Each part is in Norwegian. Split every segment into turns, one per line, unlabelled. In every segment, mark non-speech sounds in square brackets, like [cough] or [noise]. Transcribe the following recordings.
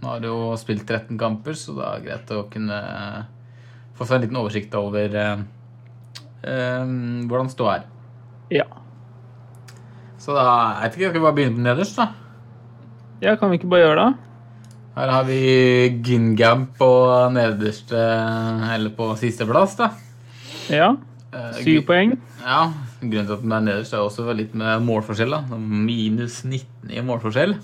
Nå har du jo spilt 13 kamper, så det er greit å kunne få seg en liten oversikt over eh, eh, hvordan ståa er.
Ja.
Så da jeg vet ikke, skal vi bare begynne nederst, da?
ja, kan vi ikke bare gjøre det?
Her har vi Gingam på nederste Eller på sisteplass, da.
Ja.
Eh,
Syv poeng.
Ja, Grunnen til at den er nederst, er også litt med målforskjell. da. Minus 19 i målforskjell.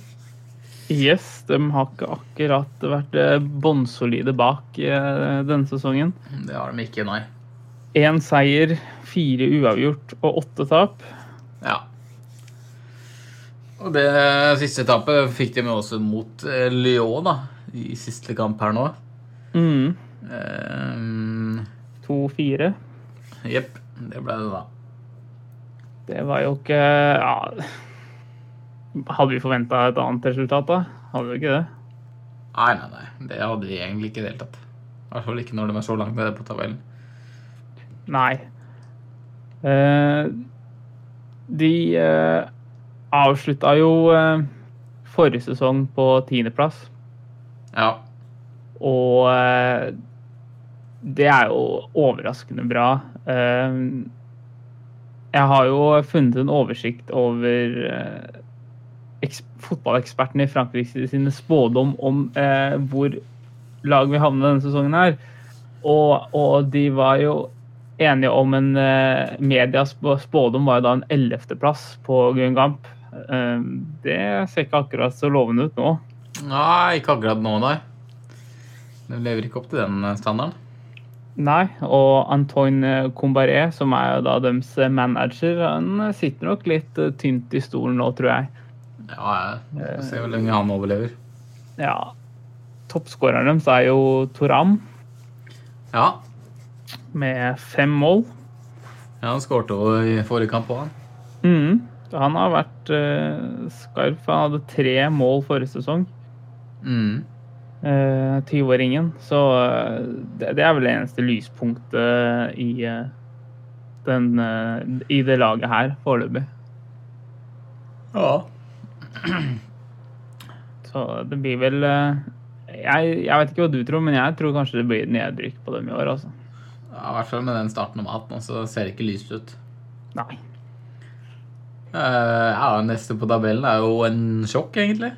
Yes, de har ikke akkurat vært eh, bånnsolide bak eh, denne sesongen.
Det har de ikke, nei.
Én seier, fire uavgjort og åtte tap.
Ja. Og det siste etappet fikk de med også mot eh, Lyon, da. I siste kamp her nå.
Mm.
Ehm,
To-fire.
Jepp. det ble det, da.
Det var jo ikke ja. Hadde vi forventa et annet resultat, da? Hadde vi ikke det?
Nei, nei, nei. Det hadde vi egentlig ikke i det hele tatt. I hvert fall ikke når de er så langt nede på tabellen.
Nei. Eh, de eh, avslutta jo eh, forrige sesong på tiendeplass,
Ja.
og eh, det er jo overraskende bra. Eh, jeg har jo funnet en oversikt over eh, eks fotballekspertene i Frankrike sine spådom om eh, hvor lag vi havner denne sesongen her. Og, og de var jo enige om en eh, Medias spå- spådom var jo da en 11.-plass på Gungamp. Eh, det ser ikke akkurat så lovende ut nå.
Nei, ikke akkurat nå, nei. De lever ikke opp til den eh, standarden.
Nei, og Antoine Combaré, som er jo da deres manager, han sitter nok litt eh, tynt i stolen nå, tror jeg.
Ja, ja. Vi får se hvor lenge han overlever.
Ja, Toppskåreren deres er jo Toram
Ja.
med fem mål.
ja han skårte jo i forrige kamp òg, han.
Mhm. Han har vært eh, skarp. for Han hadde tre mål forrige sesong,
Mm.
eh, 20-åringen. Så eh, det, det er vel det eneste lyspunktet i, eh, den, eh, i det laget her foreløpig.
Ja.
Så det blir vel eh, jeg, jeg vet ikke hva du tror, men jeg tror kanskje det blir nedrykk på dem i år. altså.
Ja, I hvert fall med den starten om 18, så ser det ikke lyst ut.
Nei.
Eh, ja, Neste på tabellen er jo en sjokk, egentlig.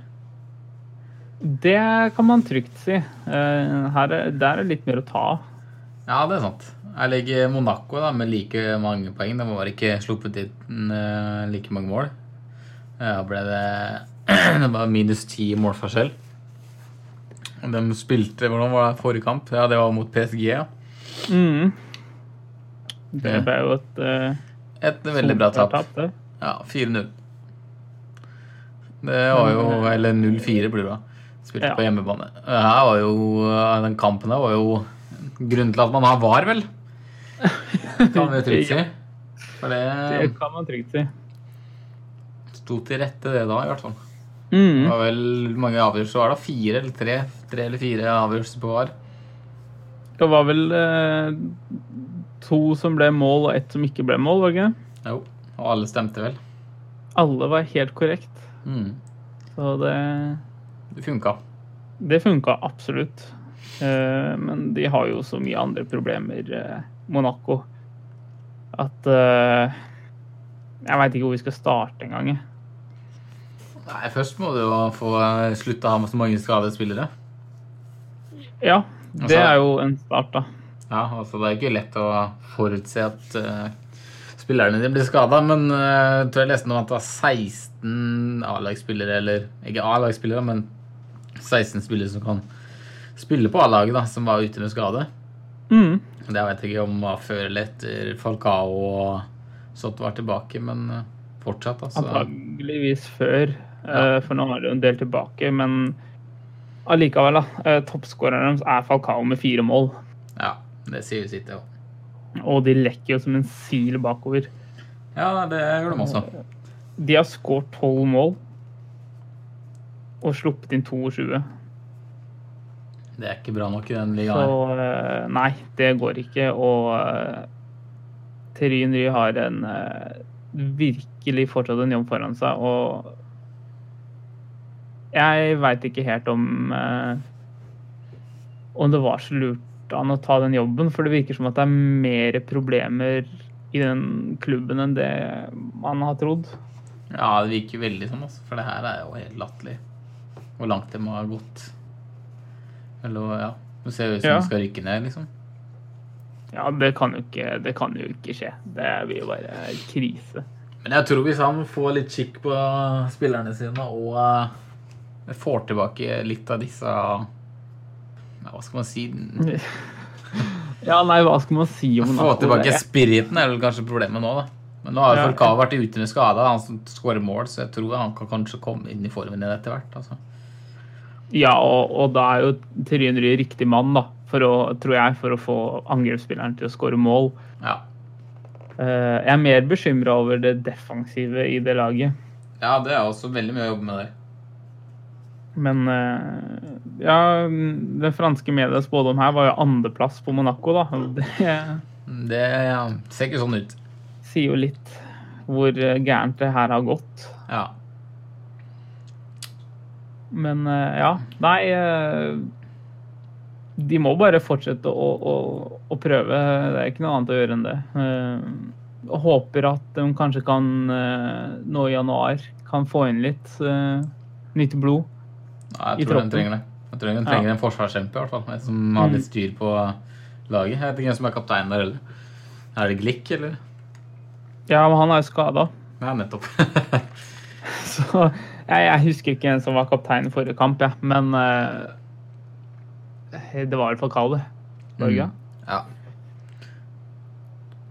Det kan man trygt si. Eh, Her er, der er det litt mer å ta av.
Ja, det er sant. Her ligger Monaco da, med like mange poeng. De var ikke sluppet inn eh, like mange mål. Ja, ble det, [clears throat] det var minus ti målforskjell. Og de spilte Hvordan var det forrige kamp? Ja, Det var mot PSG. ja.
Mhm. Det
Ja.
ble jo et eh,
Et veldig bra tap.
solklart det.
Ja, 4-0. Det var jo Eller 0-4 blir det, da. Spilte
Ja.
på hjemmebane. Det Her var jo eh, Den kampen her var jo grunnen til at man har var, vel? Kan vi trygt si. For
Det
det
kan man trygt si.
sto til rette, det da, i hvert fall. Det
Mhm.
var vel mange avgjørelser var det? Fire eller tre? Tre eller fire avgjørelser på var?
Det var vel eh, to som ble mål, og ett som ikke ble mål, var det ikke? det?
Jo. Og alle stemte vel.
Alle var helt korrekt.
Mm.
Så det
Det funka.
Det funka absolutt. Eh, Men de har jo så mye andre problemer, eh, Monaco, at eh, Jeg veit ikke hvor vi skal starte engang. jeg.
Nei, først må du jo få eh, slutte å ha så mange skadede spillere.
Ja, det
Altså-
er jo en start, da.
Ja, altså Det er ikke lett å forutse at eh, spillerne dine blir skada, men eh, jeg tror jeg leste noe om at det var 16 A-lagsspillere, eller ikke A-lagsspillere, men 16 spillere som kan spille på A-laget, da, som var ute med skade.
Mm.
Det vet jeg ikke om var før eller etter Falcao og sånt var tilbake, men eh, fortsatt, altså.
Antageligvis før, eh, for nå er det jo en del tilbake. Men allikevel, da. eh, Toppskåreren deres er Falcao med fire mål.
Ja, det sier jo sitt, det òg.
Og de lekker jo som en sil bakover.
Ja, nei, det gjør de også.
De har skåret tolv mål og sluppet inn 22.
Det er ikke bra nok i den
Så
ligaen. her.
eh, nei, det går ikke. Og uh, Terry Henry har en eh, virkelig fortsatt en jobb foran seg. Og jeg veit ikke helt om eh, om det var så lurt av han å ta den jobben, for det virker som at det er mer problemer i den klubben enn det man har trodd.
Ja, det virker veldig sånn, altså. For det her er jo helt latterlig. Hvor langt de har gått. Eller ja. Det ser jo ut som
Ja.
de skal rykke ned, liksom.
Ja, det kan jo ikke, det kan jo ikke skje. Det blir jo bare krise.
Men jeg tror hvis han får litt kikk på spillerne sine og eh, får tilbake litt av disse ja, Hva skal man si?
Ja, nei, hva skal man si om
Få
Nacho?
tilbake
Det er-
spiriten er vel kanskje problemet nå, da. Men nå har jo
Ja.
Falcao vært ute med skade, han som skårer mål, så jeg tror han kan kanskje komme inn i formen igjen etter hvert. Altså.
Ja, og, og da er jo Tryn Rye riktig mann, da, for å, tror jeg, for å få angrepsspilleren til å skåre mål.
Ja.
Eh, jeg er mer bekymra over det defensive i det laget.
ja, det er også veldig mye å jobbe med der.
Men eh, ja, den franske medias spådom her var jo andreplass på Monaco, da. og Det
Det ser ikke sånn ut.
sier jo litt hvor eh, gærent det her har gått.
Ja.
Men eh, ja, nei eh, De må bare fortsette å, å, å prøve. Det er ikke noe annet å gjøre enn det. Eh, og håper at de kanskje kan eh, nå i januar kan få inn litt eh, nytt blod.
Ja,
I
jeg tror
troppen.
den
Mm.
trenger det. Jeg tror den trenger en forsvarskjempe, i hvert fall. En som har litt styr på laget. Jeg vet ikke hvem som er kaptein der heller. Er det Glick, eller?
Ja, men han er jo skada,
Ja, nettopp.
[laughs] så jeg, jeg husker ikke en som var kaptein i forrige kamp, jeg. Men eh, det var i hvert fall Kale. Borge.
Mm. ja.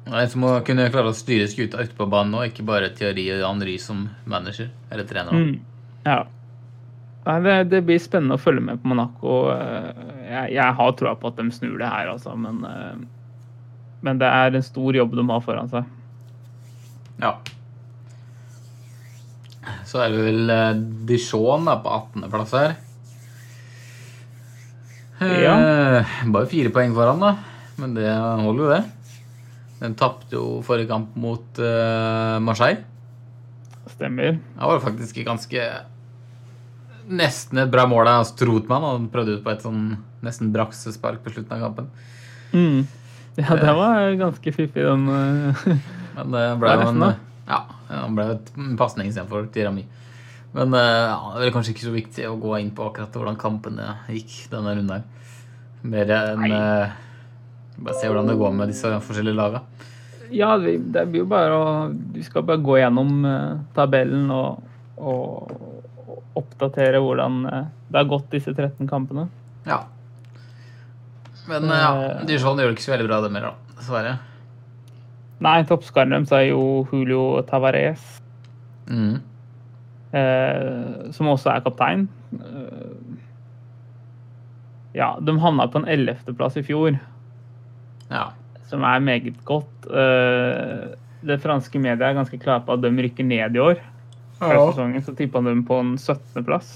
Det er En som må kunne klare å styre skuta ute på banen nå, ikke bare teori og Henry som manager eller trener.
Mm. Ja. Nei, det, det blir spennende å følge med på Monaco. Eh, Jeg, jeg har troa på at de snur det her, altså, men, eh, men det er en stor jobb de har foran seg.
Ja. Så er det vel eh, Dijon da, på 18.-plass her.
Ja.
Eh, Bare fire poeng foran, da. Men det holder jo, det. Den tapte jo forrige kamp mot eh, Marseille.
Stemmer.
Det var faktisk ganske Nesten et bra mål av Strotmann. Han prøvde ut på et sånn nesten braksespark på slutten av kampen.
Mm. Ja, det var ganske fiffig, den. eh, [laughs]
Men det ble
Det er
jo en
nesten, da.
Ja, det ble jo et- en pasning istedenfor til Rami. Men eh, ja, det er vel kanskje ikke så viktig å gå inn på akkurat hvordan kampene gikk denne runden her. Mer enn
Nei.
eh, Bare se hvordan det går med disse forskjellige laga.
Ja, vi- det blir jo bare å Vi skal bare gå gjennom eh, tabellen og, og og oppdatere hvordan eh, det har gått disse 13 kampene.
Ja. Men eh, ja, Dijon gjør det ikke så veldig bra, dem heller, da. Dessverre.
Nei, toppskaren deres er jo Julio Tavares.
Mm.
eh, som også er kaptein. Eh, ja, de havna på en 11.-plass i fjor,
Ja.
som er meget godt. Eh, det franske media er ganske klare på at de rykker ned i år. Før sesongen så tippa de på en 17.-plass.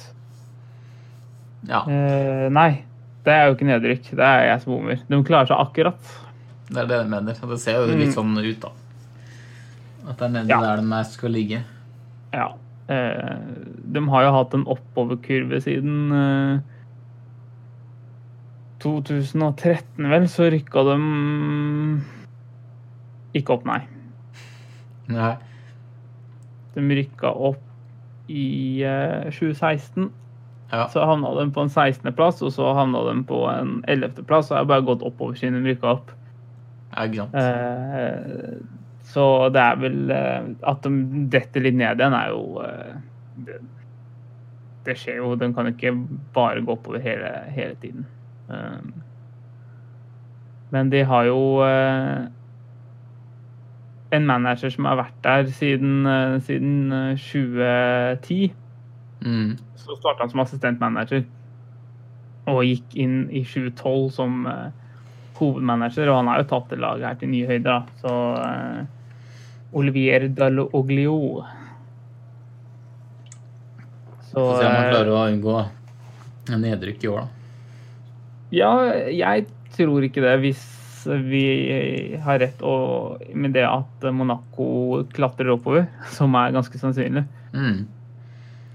ja.
Eh, nei, det er jo ikke nedrykk. Det er jeg som bommer. De klarer seg akkurat.
Det er det jeg mener. og Det ser jo litt sånn ut, da. At det er nede
Mm. Ja.
der de skal ligge.
Ja. Eh, de har jo hatt en oppoverkurve siden eh, 2013, vel, så rykka de ikke opp, nei.
Nei.
De rykka opp i eh, 2016.
Ja.
Så havna de på en 16.-plass, og så havna de på en 11.-plass. Og har bare gått oppover siden de rykka opp.
Ja, ikke sant.
Eh, så det er vel eh, At de detter litt ned igjen, er jo eh, det, det skjer jo. Den kan jo ikke bare gå oppover hele, hele tiden. Eh, men de har jo eh, en manager som har vært der siden, eh, siden eh, 2010.
Mm.
Så starta han som assistentmanager. og gikk inn i 2012 som eh, hovedmanager, og han har jo tatt det laget her til nye høyder. da. Så eh, Olivier Dalloglio Så
Få se om han
eh,
klarer å unngå nedrykk i år, da.
eh, Ja, jeg tror ikke det, hvis vi har rett og, med det at Monaco klatrer oppover, [laughs] som er ganske sannsynlig.
Mm.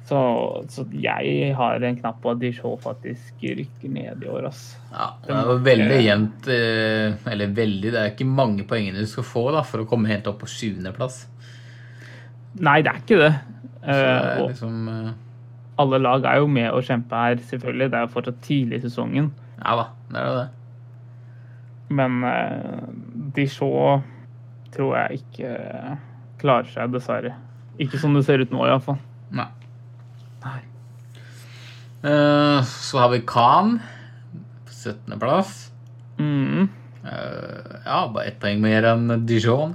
Så, så jeg har en knapp på at Dijon faktisk rykker ned i år, ass.
Ja, det var veldig jevnt eh, Eller veldig, det er ikke mange poengene du skal få da, for å komme helt opp på sjuendeplass.
Nei, det er ikke det.
Så det
Eh,
er
og
liksom eh,
alle lag er jo med å kjempe her, selvfølgelig. Det er jo fortsatt tidlig i sesongen.
Ja da, det er jo det.
Men eh, Dijon tror jeg ikke klarer seg, dessverre. Ikke som det ser ut nå, iallfall.
Nei.
Nei.
Eh, så har vi Khan på 17. plass.
Mm.
Eh, ja, bare ett poeng mer enn Dijon.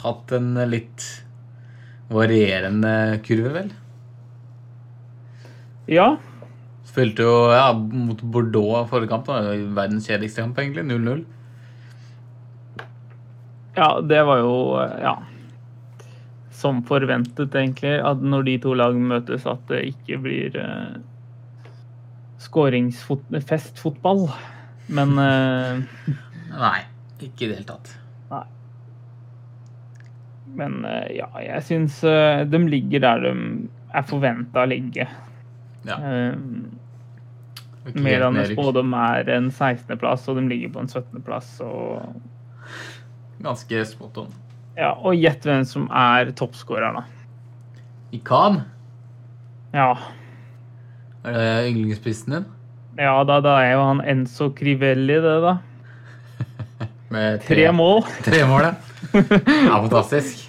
Hatt en litt varierende kurve, vel.
Ja.
Spilte jo ja, mot Bordeaux forrige kamp. da, Verdens kjedeligste kamp, egentlig. 0-0.
Ja, det var jo eh, ja, som forventet, egentlig. At når de to lag møtes, at det ikke blir eh, skåringsfestfotball. Men
[laughs]
eh,
Nei, ikke i det hele tatt.
Men eh, ja, jeg syns eh, de ligger der de er forventa å ligge.
Ja.
Eh,
Ikke
mer
helt
enn
nedrykk.
spådom er en 16.-plass, og de ligger på en 17.-plass. Og,
Ganske spot on.
ja, og gjett hvem som er toppskårer, da.
I Khan,
Ja,
er det yndlingsspissen din?
ja da, da er jo han Enzo Crivelli, det, da.
Med
Tre mål.
Tre mål,
[laughs]
ja. ja. Fantastisk.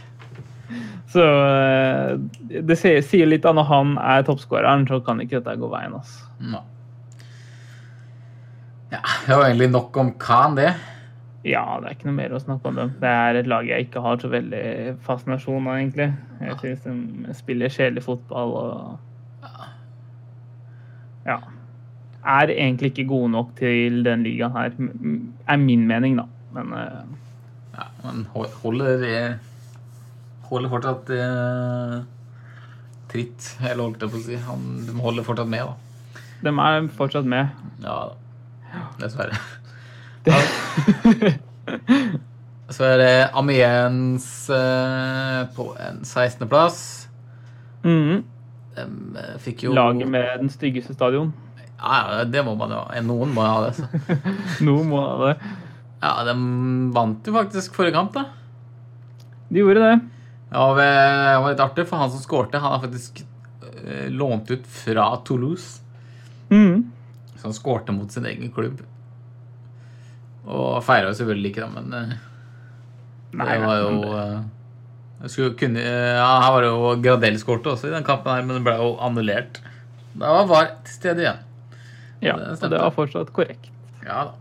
Så eh, det sier sier litt at når han er toppskåreren, så kan ikke dette gå veien. Altså.
Nei. Ja, det var egentlig nok om Khan, det.
Ja, det er ikke noe mer å snakke om dem. Det er et lag jeg ikke har så veldig fascinasjon av, egentlig.
Ah.
Jeg syns de spiller kjedelig fotball og Ja. Er egentlig ikke gode nok til den ligaen her, m- m- er min mening, da. Men eh,
Ja, men hol- holder eh, Holder fortsatt eh, tritt, eller holdt jeg på å si. Han, de holder fortsatt med, da.
de er fortsatt med.
Ja da. Dessverre. [laughs] Ja. Så er det Amiens eh, på en 16.-plass.
Mhm.
De eh, fikk jo
Laget med den styggeste stadion.
Ja, ja, det må man jo ha. Noen må jo ha det. Så.
Nå må det
Ja, de vant jo faktisk forrige kamp, da.
De gjorde det.
Ja, og Det var litt artig, for han som skårte, han er faktisk eh, lånt ut fra Toulouse.
Mhm.
Så han skårte mot sin egen klubb. Og feira jo selvfølgelig ikke, da, men eh,
Nei,
det
nei,
var
men
jo eh, jeg skulle kunne, eh, ja, Her var det jo Gradell skårte også i den kampen, her, men det ble jo annullert. Da var VAR til stede igjen.
Ja,
Det
og
stemte.
det var fortsatt korrekt.
Ja da.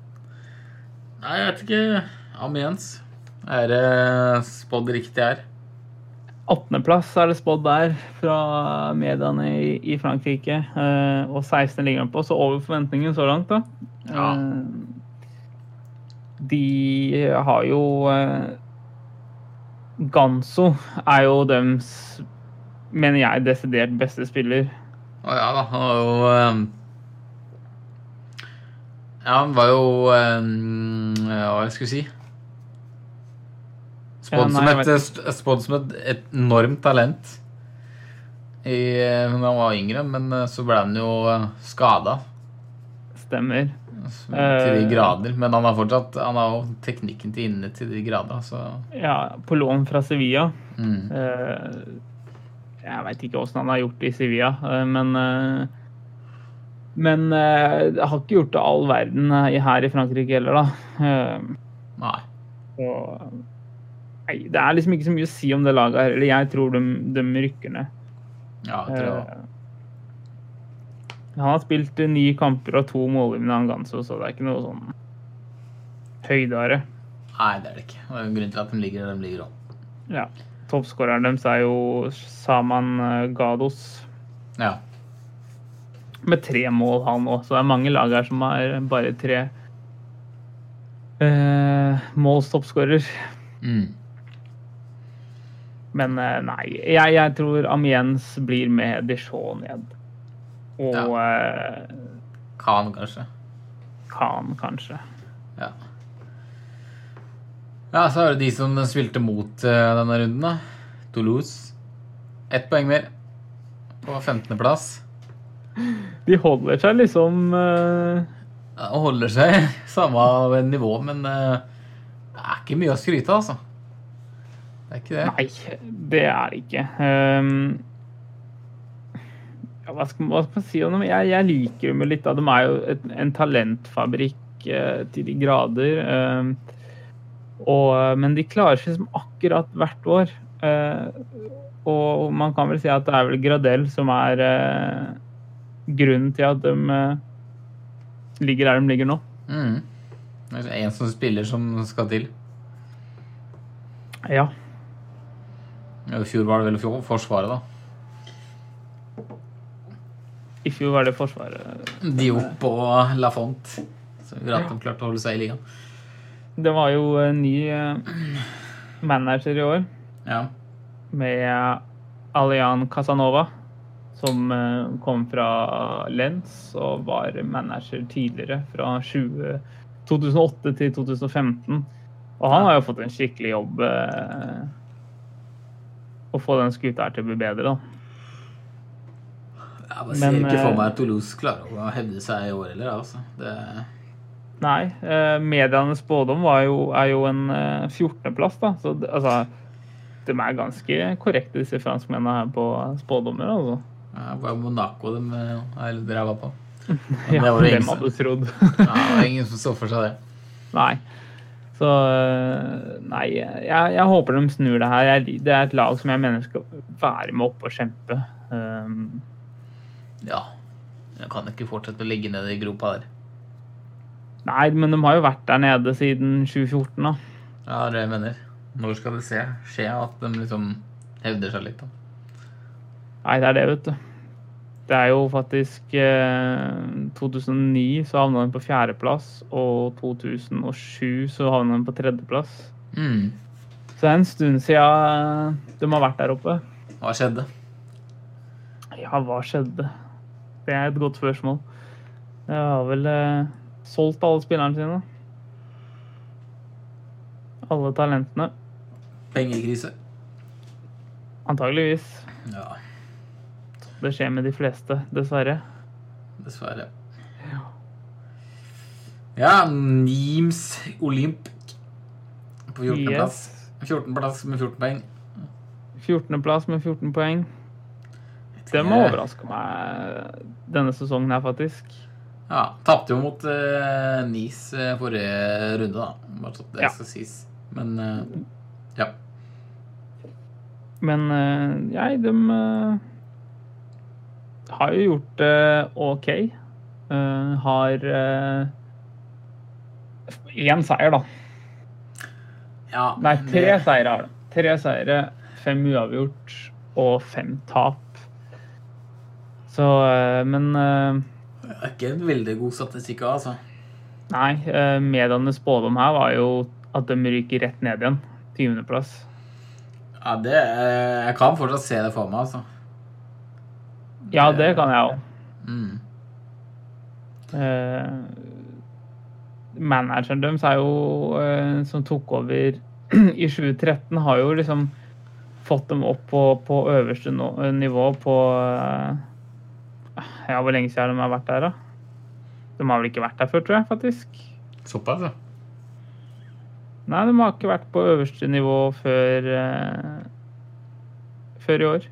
Nei, jeg vet ikke. Amiens. Er det spådd riktig her?
18.-plass er det spådd der fra mediene i, i Frankrike. eh, og 16 ligger han på, så over forventningen så langt, da.
Ja.
Eh, de har jo eh, Ganso er jo dems, mener jeg, desidert beste spiller.
Å ja da, han var jo ehm, Ja, han var jo ehm, ja, Hva skal jeg si?
Ja,
Spådd
nei,
som,
jeg
et,
vet
st- spådd som et enormt talent i, eh, når han var yngre, men eh, så ble han jo skada
Stemmer.
til de
Eh.
grader. Men han har fortsatt Han har jo teknikken til inne til de grader, så
Ja, på lån fra Sevilla.
mm.
Eh, jeg veit ikke åssen han har gjort det i Sevilla, eh, men eh, Men eh, det har ikke gjort det all verden eh, her i Frankrike heller, da. Eh,
Nei.
og Nei, det er liksom ikke så mye å si om det laget her. Eller jeg tror de, de rykker ned.
Ja, jeg tror
Eh, han har spilt eh, ni kamper og to målgivende Anganso, så det er ikke noe sånn høydare.
Nei, det er det ikke. Det er jo grunnen til at de ligger der de ligger òg.
Ja. Toppskåreren deres er jo Saman eh, Gados.
Ja.
med tre mål, han òg. Så det er mange lag her som har bare tre eh, måls toppskårer.
Mm.
Men eh, nei, jeg, jeg tror Amiens blir med Dijon ned. Og eh,
Khan, kanskje.
Khan, kanskje.
Ja. ja, så er det de som spilte mot eh, denne runden, da. Toulouse. Ett poeng mer. På 15.-plass.
De holder seg liksom eh,
Ja, og holder seg [laughs] samme nivå, men eh, det er ikke mye å skryte av, altså. Det er ikke det.
Nei, det er det ikke. Ehm, ja, hva, skal, man- hva skal man si om dem? Jeg, jeg liker dem jo litt. Da. De er jo et, en talentfabrikk eh, til de grader. ehm, og, eh, men de klarer seg liksom akkurat hvert år. Eh, og man kan vel si at det er vel Gradell som er eh, grunnen til at de eh, ligger der de ligger nå.
Mm. Det er en som spiller som skal til.
Ja.
I fjor var det vel fjor, Forsvaret, da.
I fjor var det Forsvaret
Diop og Lafont. Så gjorde at de klarte å holde seg i ligaen.
Det var jo en ny eh, manager i år.
Ja.
med Alian Casanova, som eh, kom fra Lens og var manager tidligere, fra 20, 2008 til 2015. Og han har jo fått en skikkelig jobb eh, å få den skuta her til å bli bedre, da.
Jeg bare ser
Men,
ikke for
eh,
meg at Toulouse klarer å hevde seg i år heller, altså. Det,
Nei, eh, medienes spådom var jo, er jo en eh, 14.-plass, da. Så det- altså De er ganske korrekte, disse franskmennene her på spådommer, altså.
ja, bare Monaco de eh, er litt ræva [laughs] på. Men
Ja,
det var det ingen
hvem
som-
hadde trodd?
ja, det var ingen som så for seg det.
Nei. Så øh, Nei, jeg, jeg håper de snur det her. Jeg, det er et lag som jeg mener skal være med opp og kjempe. Um,
Ja. Jeg kan ikke fortsette å ligge nede i gropa der.
nei, men de har jo vært der nede siden 2014, da.
Ja, det er det jeg mener. Når skal det se, skje at de liksom hevder seg litt? da?
Nei, det er det, vet du. Det er jo faktisk eh, 2009 så havna den på fjerdeplass, og 2007 så havna den på tredjeplass.
Mm.
Så det er en stund siden eh, de har vært der oppe.
Hva skjedde?
Ja, hva skjedde? Det er et godt spørsmål. Jeg har vel eh, solgt alle spillerne sine. Alle talentene.
Pengekrise.
Antageligvis.
Ja,
Det skjer med de fleste, dessverre.
dessverre. Ja, Nims Olymp på 14.-plass. 14.-plass med 14 poeng.
14.-plass med 14 poeng. Det må overraske meg denne sesongen her, faktisk.
Ja, Tapte jo mot eh, Nice eh, forrige runde, da. Bare så det
Ja.
skal sies. Men eh, ja.
Men eh, jeg, de eh, har jo gjort det OK. Eh, har eh, én seier, da.
ja
Nei, tre
det-
seire har de. Tre seire, fem uavgjort og fem tap. Så eh, Men eh,
Det er ikke en veldig god statistikk, altså.
nei, eh, medienes spådom her var jo at de ryker rett ned igjen. 20.-plass.
Ja, det, eh, jeg kan fortsatt se det for meg, altså.
Ja, det kan jeg òg.
Mm.
Eh, manageren deres er jo eh, som tok over [clears throat] i 2013, har jo liksom fått dem opp på, på øverste nå- nivå på eh, Ja, hvor lenge siden de har vært der, da? De har vel ikke vært der før, tror jeg, faktisk.
Såpass, ja.
Nei, de har ikke vært på øverste nivå før eh, før i år.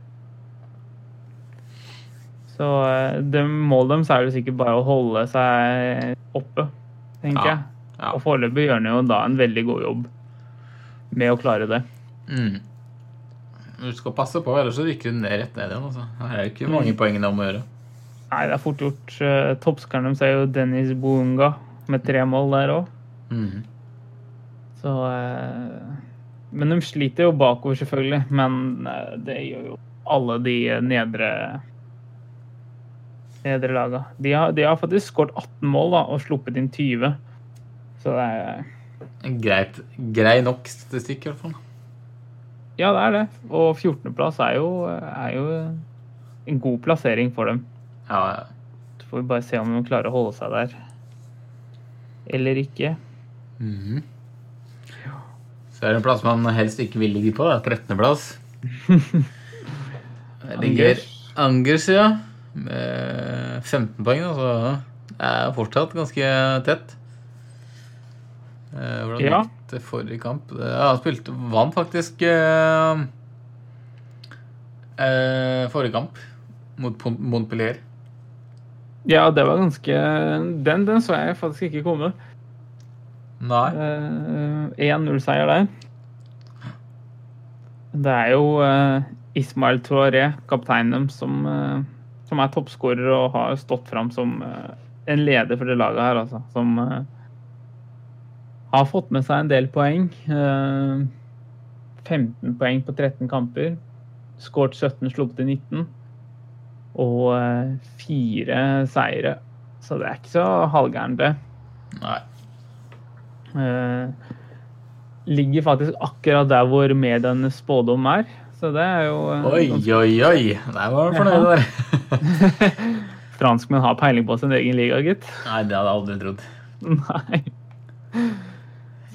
Så eh, de målet deres er jo sikkert bare å holde seg oppe, tenker
Ja,
jeg.
ja.
Og foreløpig gjør han jo da en veldig god jobb med å klare det.
Mm. Du skal passe på, ellers så rykker du ned rett ned igjen. Altså. Her er jo ikke mange poengene om å gjøre.
Nei, det er fort gjort. Eh, Toppskåreren deres er jo Dennis Bounga med tre mål der òg.
Mm.
Så eh, Men de sliter jo bakover, selvfølgelig. Men eh, det gjør jo alle de nedre eh, nedre laga. De har, de har faktisk skåret 18 mål da, og sluppet inn 20. Så det er
Greit, grei nok statistikk, i hvert fall.
Ja, det er det. Og 14.-plass er, jo- er jo en god plassering for dem.
Ja, ja.
Så får vi bare se om de klarer å holde seg der eller ikke.
Mhm. Så er det en plass man helst ikke vil ligge på. da, 13.
[laughs]
plass. Der ligger
Angers.
Angers, ja. Med 15 poeng, altså. Det er fortsatt ganske tett. Eh, Hvordan
Ja.
gikk det forrige kamp? Eh, Ja, han spilte Vant faktisk eh, eh, forrige kamp mot Pon- Montpellier.
Ja, det var ganske Den, den så jeg faktisk ikke komme.
Nei.
Eh, 1-0-seier der. Det er jo eh, Ismail Traoré, kapteinen dem, som, eh, som er toppskårer og har stått fram som eh, en leder for det laget her, altså. Som eh, har fått med seg en del poeng. Eh, 15 poeng på 13 kamper. Skåret 17, sluppet til 19. Og eh, fire seire. Så det er ikke så halvgærent, det.
Nei.
Eh, ligger faktisk akkurat der hvor medienes spådom er. Så det er jo eh,
Oi,
ganske-
oi, oi! Der var du fornøyd, der.
Franskmenn har peiling på sin egen liga, gitt. [laughs]
Nei, det hadde jeg aldri trodd.
Nei.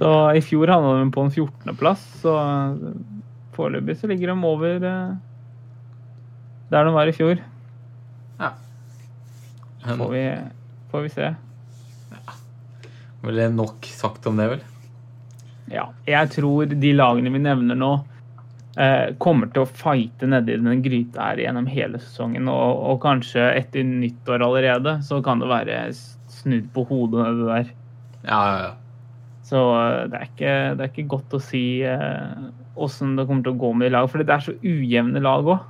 Så i fjor havna de på en 14.-plass, så eh, foreløpig så ligger de over eh, der de var i fjor.
Ja.
Får
Men,
vi, får vi se.
vel det er nok sagt om det, vel?
Ja, jeg tror de lagene vi nevner nå, eh, kommer til å fighte nedi den gryta her gjennom hele sesongen. Og, og kanskje etter nyttår allerede, så kan det være snudd på hodet det der.
Ja, ja, ja.
Så eh, det er ikke, det er ikke godt å si eh, åssen det kommer til å gå med de lag, for det er så ujevne lag òg.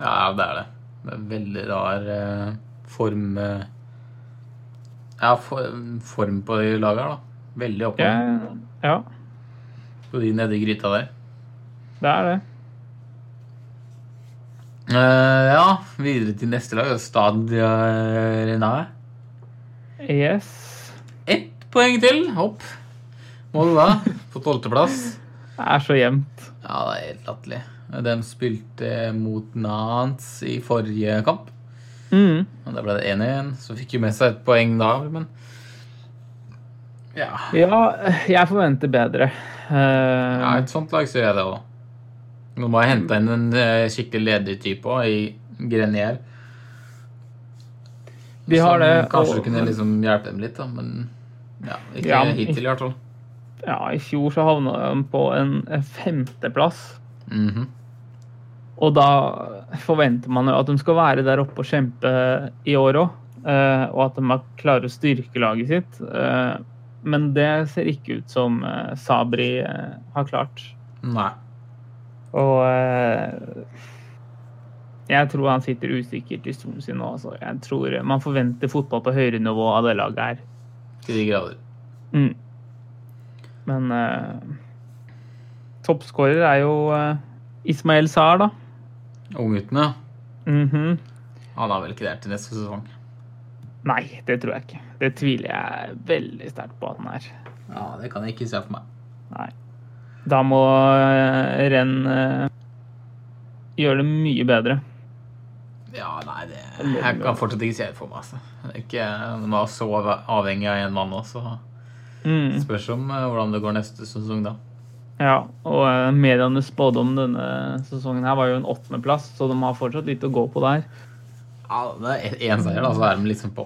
ja ja, det er det. Det er veldig rar eh, form eh, Ja, for, form på de laga her, da. Veldig oppe
Ja,
på de nedi gryta der.
det er det.
Eh, ja, videre til neste lag. Stadia Renae.
Yes.
Ett poeng til opp. Molde [laughs] på tolvteplass.
Det er så jevnt.
Ja, det er helt latterlig. De spilte mot Nans i forrige kamp.
Mm.
Og Da ble det 1-1. Så fikk jo med seg et poeng da, men Ja.
Ja, jeg forventer bedre. Eh,
ja et sånt lag så gjør jeg det òg. Nå må jeg hente inn en eh, skikkelig ledig type også, i Grenier.
de har
som
det.
Kanskje
og-
kunne liksom hjelpe dem litt, da, men ja, ikke
Ja, men-
hittil i hvert fall.
Ja, i fjor så havna de på en en femteplass.
Mhm.
Og da forventer man jo at de skal være der oppe og kjempe i år òg. Og at de har- klarer å styrke laget sitt. Eh, Men det ser ikke ut som eh, Sabri eh, har klart.
Nei.
Og eh, jeg tror han sitter usikkert i stolen sin nå. Altså. Jeg tror man forventer fotball på høyere nivå av det laget her.
Til de grader.
Mm. Men uh, toppskårer er jo eh, Ismael Saar, da.
Ungguttene ja.
Mhm.
Han er vel ikke der til neste sesong.
Nei, det tror jeg ikke. Det tviler jeg veldig sterkt på at han er.
Ja, Det kan jeg ikke se for meg.
Nei. Da må eh, renn eh, gjøre det mye bedre.
Ja, nei, det, jeg kan fortsatt ikke se det for meg. Altså. Det er Ikke, man er så avhengig av én mann også.
Mm.
Spørs om eh, hvordan det går neste sesong, da.
Ja, og eh, medienes spådom denne sesongen her var jo en åttendeplass, så de har fortsatt litt å gå på der.
Ja, det er én seier, da, så er de liksom på.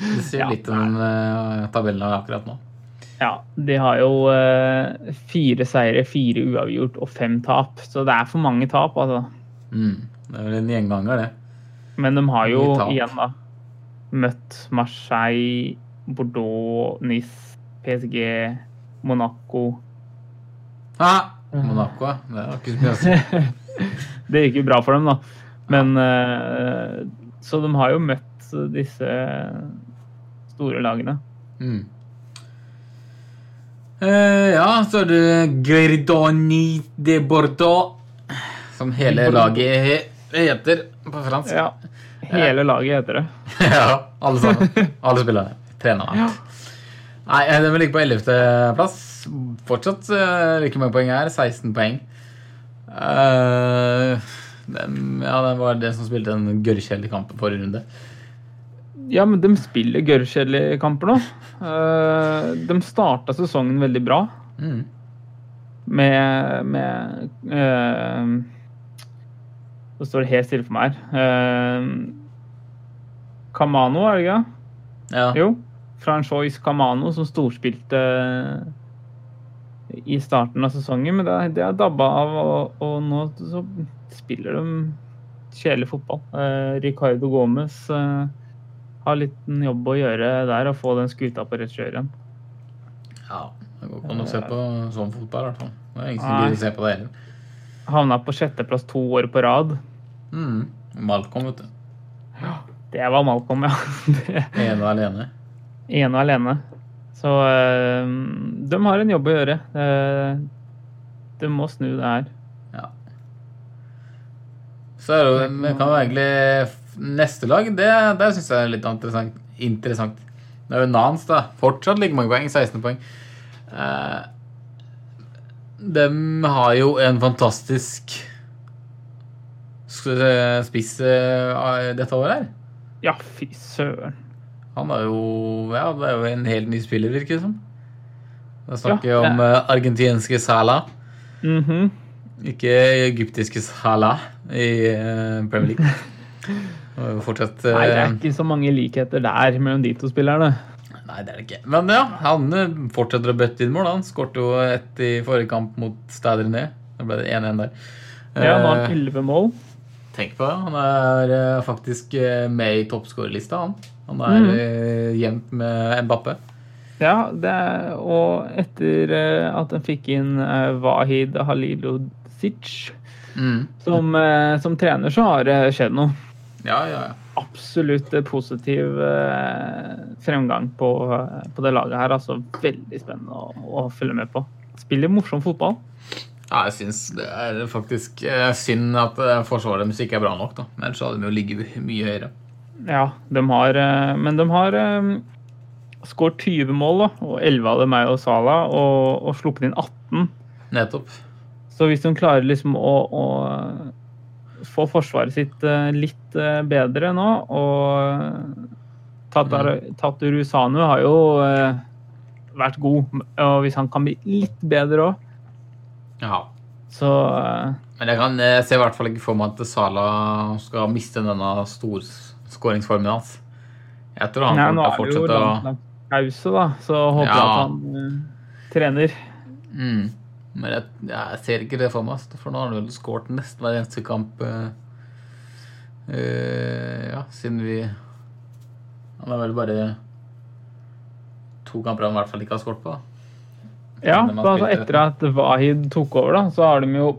Det sier
Ja,
litt om eh, tabellen er akkurat nå.
Ja, de har jo eh, fire seire, fire uavgjort og fem tap, så det er for mange tap, altså.
Mm. Det er vel en gjenganger, det.
Men de har jo
Mye tap.
igjen da møtt Marseille, Bordeaux, Nice, PSG, Monaco.
Ah, Monaco, ja. det var ikke så mye å si.
Det gikk jo bra for dem, da. Men eh, Så de har jo møtt disse store lagene.
Mm. Eh, ja, så er det Gerdoni de Bordeaux, som hele laget he- heter på fransk.
Ja. Hele laget heter det.
[laughs] ja, alle sammen. Alle spillerne. Trenerne.
Ja.
Nei, eh, den vil ligge på 11. plass. Fortsatt eh, like mange poeng her. 16 poeng. Eh, den, ja, den var det som spilte den gørrkjedelige kampen forrige runde.
Ja, men de spiller gørrkjedelige kamper nå. Eh, De starta sesongen veldig bra
Mm.
med, med eh, Det står helt stille for meg her. Eh, Kamano, er det ikke? det?
Ja.
Jo. Franchois Kamano, som storspilte eh, i starten av sesongen. Men det, det er dabba av, og, og nå så spiller de kjedelig fotball. Eh, Ricardo Gomez eh, har litt en jobb å gjøre der og få den skuta på rett kjør igjen.
ja. Det går ikke an å se på sånn fotball, i hvert fall. Det er ingen som gidder å se på det heller.
Havna på sjetteplass to år på rad.
Mm. Malcolm, vet du.
Det var Malcolm, ja. [laughs] Det-
Ene og alene.
Ene og alene. Så eh, de har en jobb å gjøre. Eh, de må snu det her.
Ja. Så er det, jo- men kan jo egentlig f- Neste lag, det, der syns jeg er litt interessant. interessant. Det er jo Nans, da. Fortsatt like mange poeng. 16 poeng. Eh, dem har jo en fantastisk s- eh, spiss eh, av dette året her.
Ja, fy søren.
Han er jo Ja, det er jo en helt ny spiller, virker det som. Da snakker vi
Ja, det
om eh, argentinske Salah.
Mhm.
Ikke egyptiske Salah i eh, Premier League. Det var jo fortsatt eh,
Nei, det er ikke så mange likheter der mellom de to spillerne.
Nei, det er det ikke. Men ja, han eh, fortsetter å bøtte inn mål. Han skårte jo ett i forrige kamp mot Stæder ned. Da ble det 1-1 der.
Ja, nå har
Eh,
han elleve mål.
Tenk på det. Han er eh, faktisk eh, med i toppskårerlista, han. Han er eh, jevnt med Mbappé.
Ja, det er, og etter eh, at han fikk inn eh, Wahid Halilodic
Mm.
som, eh, som trener, så har det skjedd noe.
Ja, ja, ja.
Absolutt eh, positiv eh, fremgang på, eh, på det laget her. Altså veldig spennende å, å følge med på. Spiller morsom fotball.
Ja, jeg syns det er faktisk eh, synd at eh, forsvaret deres ikke er bra nok, da. Ellers hadde de jo ligget mye høyere.
Ja, de har eh, Men de har eh, skåret 20 mål, da, og 11 av dem er jo Salah, og, og sluppet inn 18.
Nettopp.
Så hvis de klarer liksom å, å få forsvaret sitt eh, litt eh, bedre nå, og Tatar,
Mm.
Tatarusanu har jo eh, vært god, og hvis han kan bli litt bedre òg,
Ja.
så eh,
Men jeg kan eh, se i hvert fall ikke for meg at Sala skal miste denne storskåringsformen hans. Jeg tror han
Nei, nå
kommer til å
er det jo
fortsette å
langt, langt pause, da, så håper jeg
Ja.
at han eh, trener.
mm. Men jeg, jeg ser ikke det for meg, ass. for nå har han vel skåret nesten hver eneste kamp eh, eh, Ja, siden vi Han er vel bare to kamper han i hvert fall ikke har skåret på. da.
Ja,
Men de har
altså
spilt
etter at Wahid tok over, da, så har de jo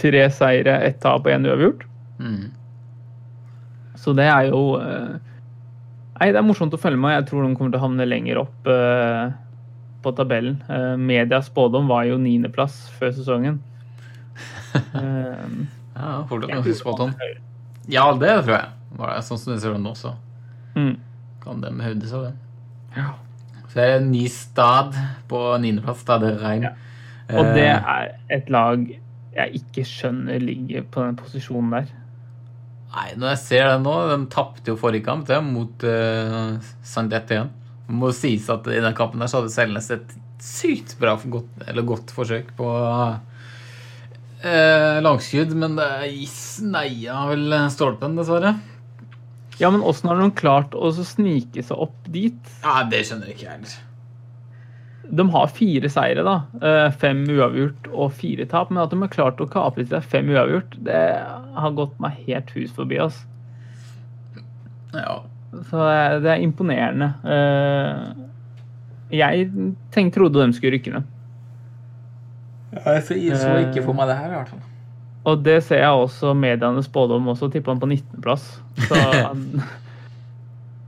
tre seire, ett tap og én uavgjort.
Mm.
Så det er jo eh, Nei, det er morsomt å følge med. Jeg tror de kommer til å havne lenger opp eh, på tabellen. Eh, Medias spådom var jo niendeplass før sesongen. Eh,
Ja, fortsatt ganske spot on. Ja, det tror jeg. Var det, sånn som det ser ut nå, så
mm.
kan de hevde seg, det.
Ja.
Så er det en ny stad på niendeplass. Da er det regn.
Ja. Og det
Eh,
er et lag jeg ikke skjønner ligger på den posisjonen der.
Nei, når jeg ser det nå De tapte jo forrige kamp det, mot uh, Sandette igjen. Det må sies at i den kampen der så hadde Selnes et sykt bra godt, eller godt forsøk på eh, langskudd, men det sneia vel stolpen, dessverre.
Ja, men åssen har de klart å så snike seg opp dit?
Ja, Det skjønner jeg ikke jeg heller.
De har fire seire, da. Eh, Fem uavgjort og fire tap. Men at de har klart å kapre til seg fem uavgjort, det har gått meg helt hus forbi. ass.
Ja.
Så det er- det er imponerende. Eh, Jeg tenk, trodde de skulle rykke ned.
Jeg så,
ikke
ikke
for
for meg det her, i hvert fall.
Og det ser jeg også mediene spådde om også, tippa han på 19.-plass. Så
[laughs]
at-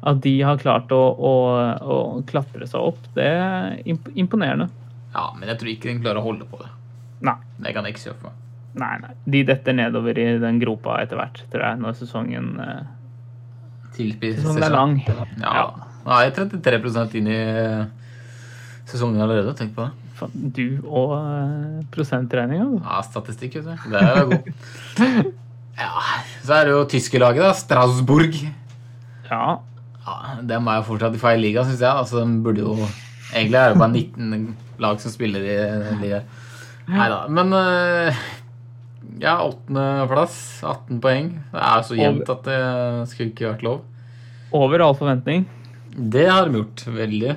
at de har klart å, å, å klatre seg opp, det er imp- imponerende.
Ja, Men jeg tror ikke den klarer å holde på det.
Nei.
Det kan jeg ikke se for meg.
Nei, nei. De detter nedover i den gropa etter hvert, tror jeg, når sesongen, eh,
Tilspiser
sesongen er
sesong.
lang.
Ja. Nå er jeg 33 inn i eh, sesongen allerede. Tenk på det.
Faen, Du og eh, altså. prosentregninga, du.
Ja, statistikk, vet du. Det er jo god. [laughs] Ja, så er det jo tyske laget, da. Strasbourg.
Ja.
Ja, Dem er jo fortsatt i feil liga, syns jeg. Altså, de burde jo Egentlig er det bare 19 lag som spiller i den ligaen. Nei da. Men eh, ja, åttendeplass. 18 poeng. Det er jo så jevnt at det skulle ikke vært lov.
Over all forventning.
Det har de gjort. Veldig.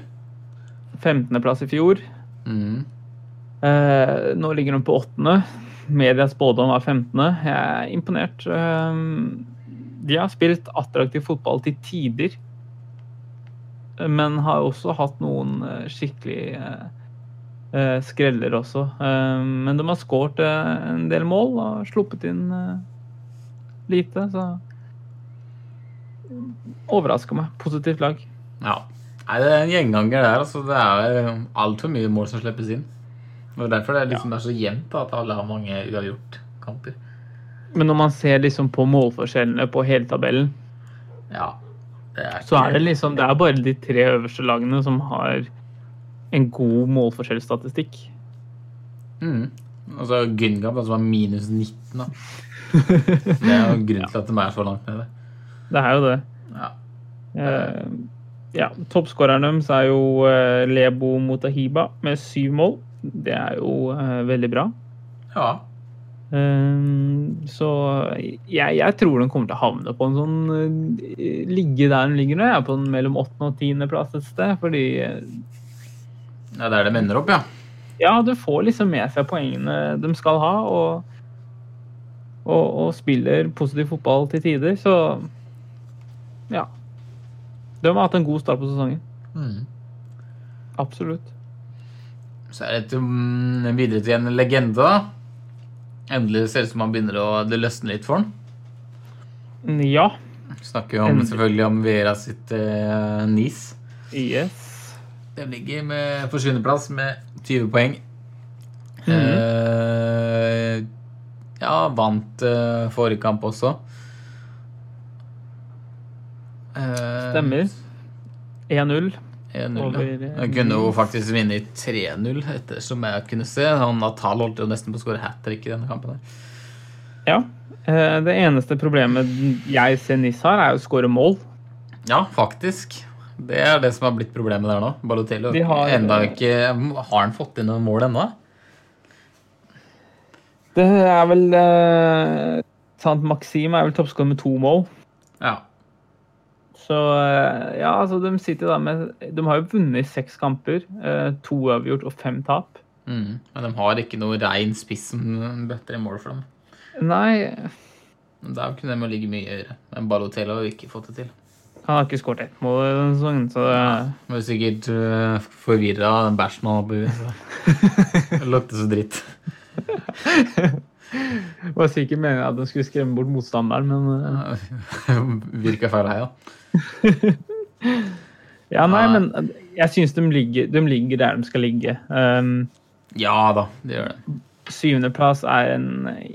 15.-plass i fjor.
Mm.
Eh, nå ligger hun på åttende. Medias spådom var 15. Jeg er imponert. Eh, de har spilt attraktiv fotball til tider, men har også hatt noen eh, skikkelig eh, eh, skreller også. Eh, men de har skåret eh, en del mål og sluppet inn eh, lite, så Overrasker meg. Positivt lag.
Ja. Nei, det er en gjenganger der. altså Det er altfor mye mål som slippes inn. Og Det er derfor det er, liksom, det er så jevnt da, at alle har mange uavgjort-kamper.
Men når man ser liksom på målforskjellene på heltabellen,
Ja. Det er
så
ikke-
er det liksom Det er bare de tre øverste lagene som har en god målforskjellsstatistikk.
Mm. Og så Gyngab, da, som er minus 19.
[laughs]
da. Det er jo grunnen til at de er så langt nede.
Det er jo det.
Ja.
Eh, ja, Toppskåreren deres er jo eh, Lebo Motahiba med syv mål. Det er jo eh, veldig bra.
ja.
Eh, så jeg, jeg tror den kommer til å havne på en sånn eh, Ligge der den ligger nå. Jeg er på den mellom åttende og tiendeplass et sted. Fordi eh,
ja det er det de ender opp, ja.
Ja, du får liksom med seg poengene de skal ha, og, og, og spiller positiv fotball til tider, så ja. De har hatt en god start på sesongen.
Mm.
Absolutt.
Så er det til, mm, videre til en legende, da. Endelig ser det ut som han begynner å det løsner litt for han.
Ja.
Snakker jo om,
Endelig.
selvfølgelig om Vera sitt eh, NIS.
Yes.
De ligger med, på sjuendeplass med 20 poeng.
Mhm.
Eh, ja, vant eh, forrige kamp også. Eh,
Stemmer. 1-0.
1-0.
Over,
ja.
eh,
Han kunne jo
Nice.
faktisk vinne i 3-0, ettersom jeg kunne se. Han Natal holdt jo nesten på å skåre hat trick i denne kampen. her.
Ja. Eh, Det eneste problemet jeg ser Nis har, er jo å skåre mål.
Ja, faktisk. Det er det som har blitt problemet der nå. Balotelli
De har-
har enda ikke Har han fått inn noen mål ennå?
Det er vel eh, Sant, Maxim er vel toppskårer med to mål.
Ja.
Så eh, ja, altså de sitter da med De har jo vunnet seks kamper. eh, To uavgjort og fem tap.
Mm. Men de har ikke noe rein spiss som bøtter i mål for dem.
Nei,
Men Der kunne de jo ligge mye høyere. Men Balotelli har jo ikke fått det til.
han har ikke skåret ett mål i denne sesongen, så eh,
Han var jo sikkert uh, forvirra av den bæsjen han har på huet. [laughs] Det lukter så dritt.
det var sikkert meningen at de skulle skremme bort motstanderen, men eh,
Virka feil her, ja.
Ja, nei,
Nei.
men eh, jeg syns de ligger, de ligger der de skal ligge. Um,
Ja da, det gjør det.
Syvendeplass er en eh,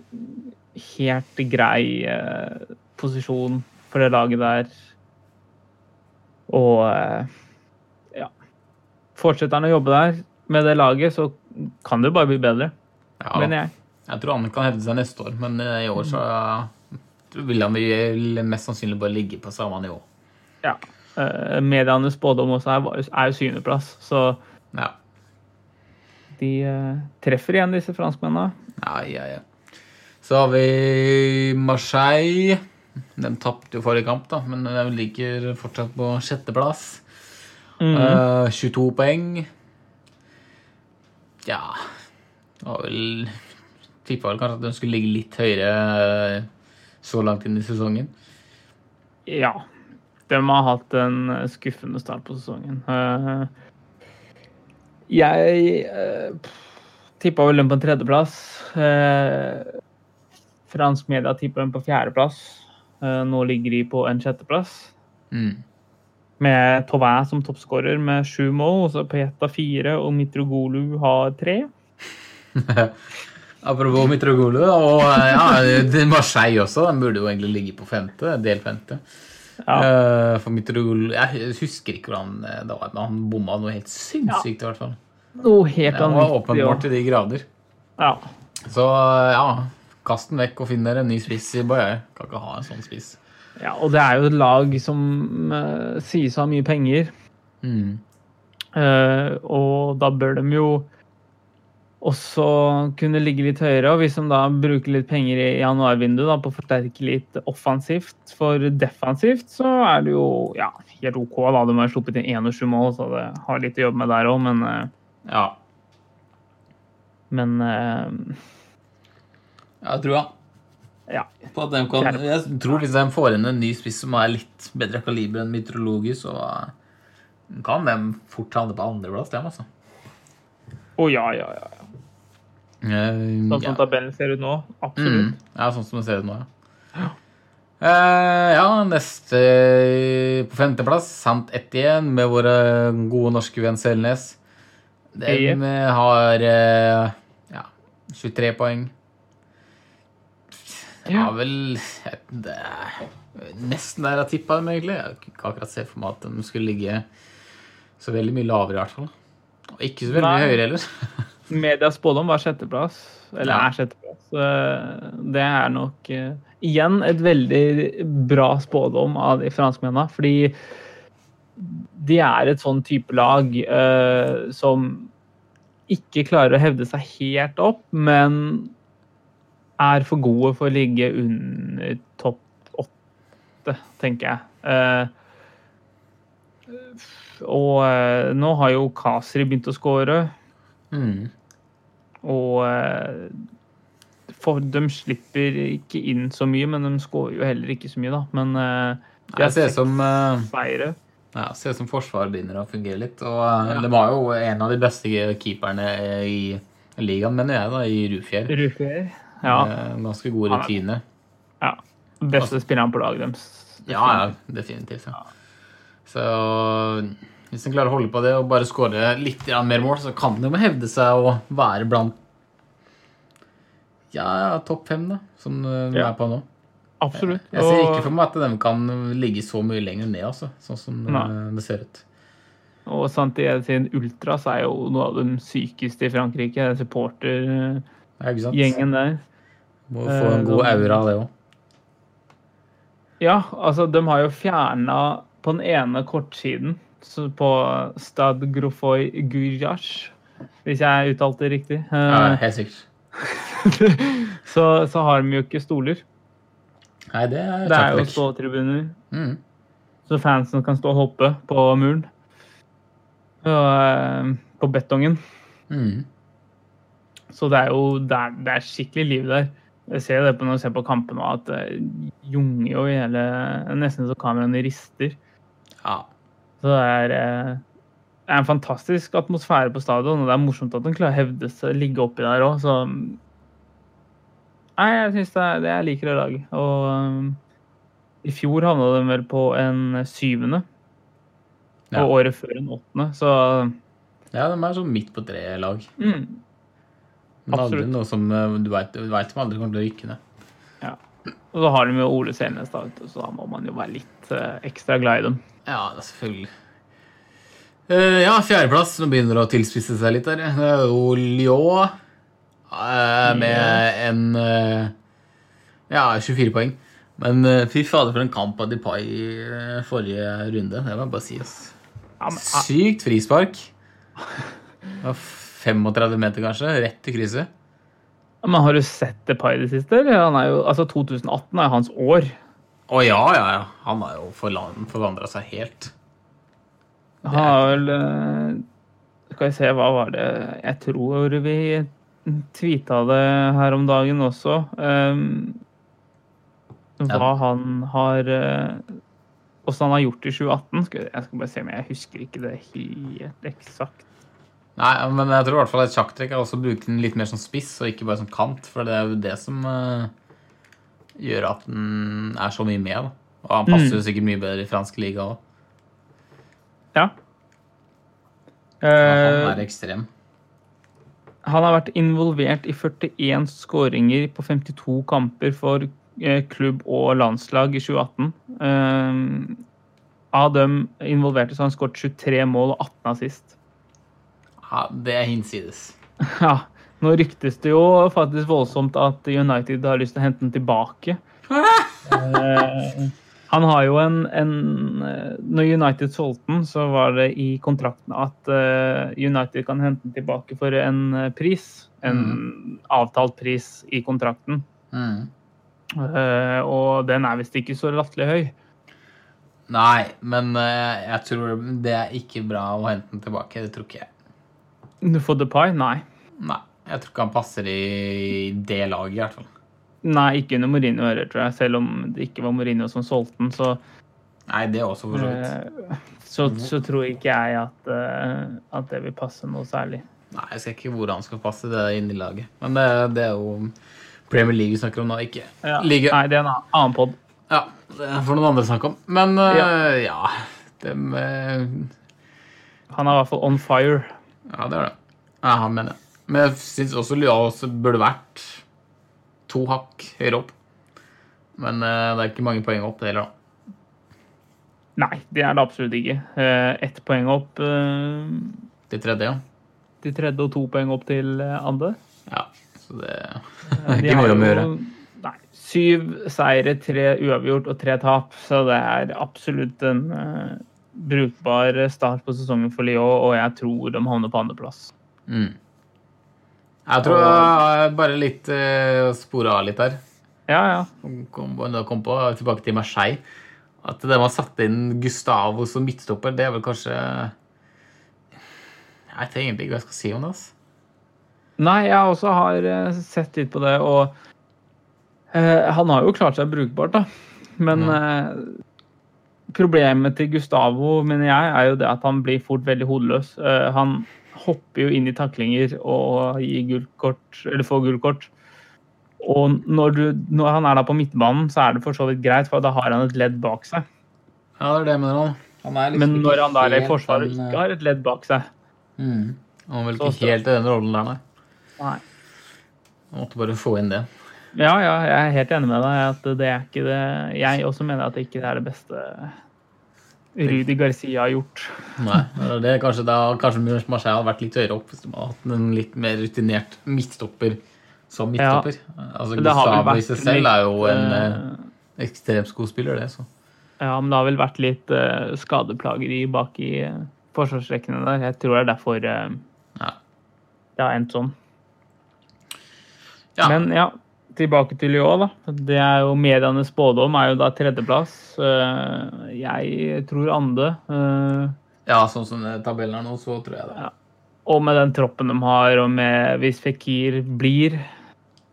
helt grei eh, posisjon for det laget der. Og eh, ja Fortsetter han å jobbe der med det laget, så kan det jo bare bli bedre,
Ja, da.
mener jeg.
Jeg tror han kan hevde seg neste år, men eh, i år så eh, vil han vel mest sannsynlig bare ligge på samme nivå.
Ja. Eh, medienes spådom også er, var- er jo syvendeplass, så
Ja.
de eh, treffer igjen, disse franskmennene.
Ja, ja, ja. Så har vi Marseille. De tapte jo forrige kamp, da, men de ligger fortsatt på sjetteplass. Eh, 22 poeng. Ja det var vel Tippa vel kanskje at de skulle ligge litt høyere eh, så langt inn i sesongen.
Ja. De har hatt en eh, skuffende start på sesongen. Eh, Jeg uh, tippa vel dem på en tredjeplass. Eh, fransk media tippa dem på fjerdeplass. Eh, nå ligger de på en sjetteplass.
Mm.
Med Tauvin som toppskårer med sju mål, og så Peta fire, og Mitrogolu har tre.
Apropos Mitrogolo, og eh, ja, det- Marseille også. Den burde jo egentlig ligge på femte, del femte. Eh, For Mitrogolo Jeg husker ikke hvordan eh, det var, men han bomma noe helt sinnssykt, i hvert fall.
Noe helt
Han var åpenbart
annet.
til de grader.
Ja.
Så eh, ja, kast den vekk og finn dere en ny spiss i Bayern. Kan ikke ha en sånn spiss.
ja, og det er jo et lag som eh, sies å ha mye penger.
Mm.
Eh, og da bør de jo også kunne ligge litt høyere. Og hvis de da bruker litt penger i januarvinduet da, på å forsterke litt offensivt for defensivt, så er det jo ja, helt OK. da, De har sluppet inn 21 mål, så det har litt å jobbe med der òg, men, eh,
Ja.
men eh,
Jeg tror, ja.
ja.
På at de kan, jeg tror hvis de får inn en ny spiss som er litt bedre kaliber enn Mitrologi, så eh, kan de fort havne på andreplass. dem, Altså.
Å ja, ja, ja. ja.
Eh,
Sånn
ja.
som tabellen ser ut nå, absolutt.
Mm. ja, sånn som det ser ut nå, ja. Eh, ja, neste på femteplass, Sant Ettien, med våre gode norske venn Selnes. Den eh, har eh, ja, 23 poeng. Ja,
Ja.
vel det er Nesten der jeg tippa dem, egentlig. Jeg kan ikke akkurat se for meg at de skulle ligge så veldig mye lavere, i hvert fall. Og ikke så veldig mye
Nei.
høyere heller. [laughs]
Medias spådom var sjetteplass, eller
Ja.
er sjetteplass. Eh, Det er nok eh, igjen et veldig bra spådom av de franskmennene. Fordi de er et sånn type lag eh, som ikke klarer å hevde seg helt opp, men er for gode for å ligge under topp åtte, tenker jeg. Eh, og eh, nå har jo Kasri begynt å skåre.
Mm.
Og eh, for, de slipper ikke inn så mye, men de skårer jo heller ikke så mye, da. Men eh, de
Jeg
har
ser
seks
som, eh,
seire.
Ja, ser ut som forsvaret begynner å fungere litt. Og eh, de var jo en av de beste keeperne eh, i ligaen, mener jeg, da, i Rufjell.
Rufer. Ja.
Eh, Ganske god
Ja.
rutine.
ja. Beste spilleren på laget deres.
Ja, ja, definitivt. Ja. Så hvis de klarer å holde på det og bare skåre litt grann mer mål, så kan de jo hevde seg og være blant ja, topp fem, da, som eh, de
Ja.
er på nå.
Absolutt.
Jeg ser ikke
Og-
for meg at de kan ligge så mye lenger ned, altså, sånn som eh,
Nei.
det ser ut.
Og Santiago sin Ultras er jo noe av de sykeste i Frankrike. den Supportergjengen
Ja, ikke sant?
der.
Må få en
Eh,
god
da-
aura av det òg.
Ja, altså, de har jo fjerna på den ene kortsiden, så på Stad Grofoy Gurjash, hvis jeg uttalte det riktig. eh,
Ja, helt sikkert.
så, så har de jo ikke stoler.
Nei, det er,
Det er jo
så...
ståtribuner,
mm.
så fansen kan stå og hoppe på muren. Og, eh, på betongen.
Mm.
Så det er jo det er, det er skikkelig liv der. Jeg ser jo det på når jeg ser på kampene at det junger jo i hele Nesten så kameraene rister.
Ja.
Så det er, eh, det er en fantastisk atmosfære på stadion, og det er morsomt at den klarer å hevde seg, ligge oppi der òg, så Nei, jeg syns det, er- det jeg liker det laget. Og um, i fjor havna de vel på en syvende,
Ja.
og året før en åttende, så
ja, de er sånn midt på treet lag.
mm,
Men aldri
Absolutt.
noe som eh, du veit de aldri kommer til å rykke ned.
Og så har de jo Ole Selnes, da, vet du, så da må man jo være litt eh, ekstra glad i dem.
Ja, det er selvfølgelig. Eh, ja, fjerdeplass. Nå begynner det å tilspisse seg litt der. Det er jo Lyon eh, med en eh, Ja, 24 poeng. Men eh, fy fader, for en kamp av Depay i eh, forrige runde. Det må jeg bare si, ass.
Ja, men, eh,
Sykt frispark. Det var 35 meter, kanskje. Rett i krysset.
ah, men har du sett Depay i det siste? eller? Han er jo, altså 2018 er hans år.
Å ja, ja, ja. Han har jo forvandra seg helt.
Han har vel eh, Skal vi se, hva var det Jeg tror vi tweeta det her om dagen også. ehm, hva
Ja.
han har eh, Åssen han har gjort i 2018. Skal, vi- jeg skal bare se, men jeg husker ikke det helt eksakt.
Nei, men jeg tror i hvert fall et sjakktrekk er også å bruke den litt mer som spiss, og ikke bare som kant. For det er jo det som eh, gjør at den er så mye med. Da. Og han passer jo sikkert mye bedre i fransk liga òg.
Ja.
Han
Eh,
er ekstrem.
Han har vært involvert i 41 skåringer på 52 kamper for eh, klubb og landslag i 2018. Eh, av dem involverte så har han skåret 23 mål og 18 assist.
Ja, det er hinsides.
Ja, nå ryktes det jo faktisk voldsomt at United har lyst til å hente den tilbake. Eh, han har jo en, en eh, Når United solgte den, så var det i kontrakten at eh, United kan hente den tilbake for en eh, pris. En avtalt pris i kontrakten.
Mm.
Eh, og den er visst ikke så latterlig høy.
Nei, men eh, jeg tror det er ikke bra å hente den tilbake. Det tror ikke jeg.
For Depay? Nei.
Nei, jeg tror ikke han passer i det laget, i hvert fall.
Nei, ikke under Mourinho heller, tror jeg. Selv om det ikke var Mourinho som solgte den, så
Nei, det også, for så vidt.
Eh, så,
Mhm.
så tror ikke jeg at, eh, at det vil passe noe særlig.
Nei, Jeg ser ikke hvor han skal passe det inn i laget. Men det, det er jo Premier League vi snakker om nå, ikke liga.
Nei, det er en annen- annen pod.
Ja, det får noen andre snakke om. Men øh, ja, dem, øh,
Han er i hvert fall on fire.
ja det er det. Ja, han mener jeg. Men jeg syns også Lyao også burde vært to hakk høyere opp. Men øh, det er ikke mange poeng opp det heller, da.
Nei, det er det absolutt ikke. Eh, Ett poeng opp eh,
Til tredje, ja.
til tredje og to poeng opp til eh, andre.
ja. Så det, det
Eh,
er
de
ikke
har
mye om å
jo-
gjøre.
Nei. Syv seire, tre uavgjort og tre tap. Så det er absolutt en eh, brukbar start på sesongen for Lyon, og jeg tror de havner på andreplass.
Mm. Jeg tror jeg bare litt uh, spora av litt der.
Ja, ja.
kom, da kom på, tilbake til Marseille, at det man satte inn Gustavo som midtstopper, det er vel kanskje Jeg vet egentlig ikke hva jeg skal si om det. ass.
Nei, jeg også har eh, sett litt på det, og eh, han har jo klart seg brukbart, da. Men eh, problemet til Gustavo, mener jeg, er jo det at han blir fort veldig hodeløs. Eh, han hopper jo inn i taklinger og gir gult kort, eller får gult kort. Og når, du, når han er da på midtbanen, så er det for så vidt greit, for da har han et ledd bak seg.
Ja, det er det jeg mener han. han er liksom
Men
ikke
når han da er i
helt
forsvaret og
den,
ikke har et ledd bak seg
mm, Han var vel
Så
ikke
stor.
helt i den rollen der, nei.
Nei.
Han måtte bare få inn det.
Ja, ja, jeg er helt enig med deg. at det er ikke det. Jeg også mener at det ikke er det beste Rudi Garcia har gjort.
Nei, det er kanskje, da, kanskje Marseille hadde vært litt høyere opp hvis de hadde hatt en litt mer rutinert midtstopper som
Ja.
midtstopper. Altså,
Det har vel
Gustavo i
vært
seg selv er jo en eh,
eh,
ekstremt god spiller, det. så.
Ja, men det har vel vært litt eh, skadeplageri bak i eh, forsvarsrekkene der. Jeg tror det er derfor eh,
Ja.
det har endt sånn.
Ja.
Men ja, tilbake til Lyon, da. Det er jo medienes spådom er jo da tredjeplass. Eh, Jeg tror andre. eh,
Ja, sånn som eh, tabellen er nå, så tror jeg det.
Ja. Og med den troppen de har, og med hvis Fikir blir,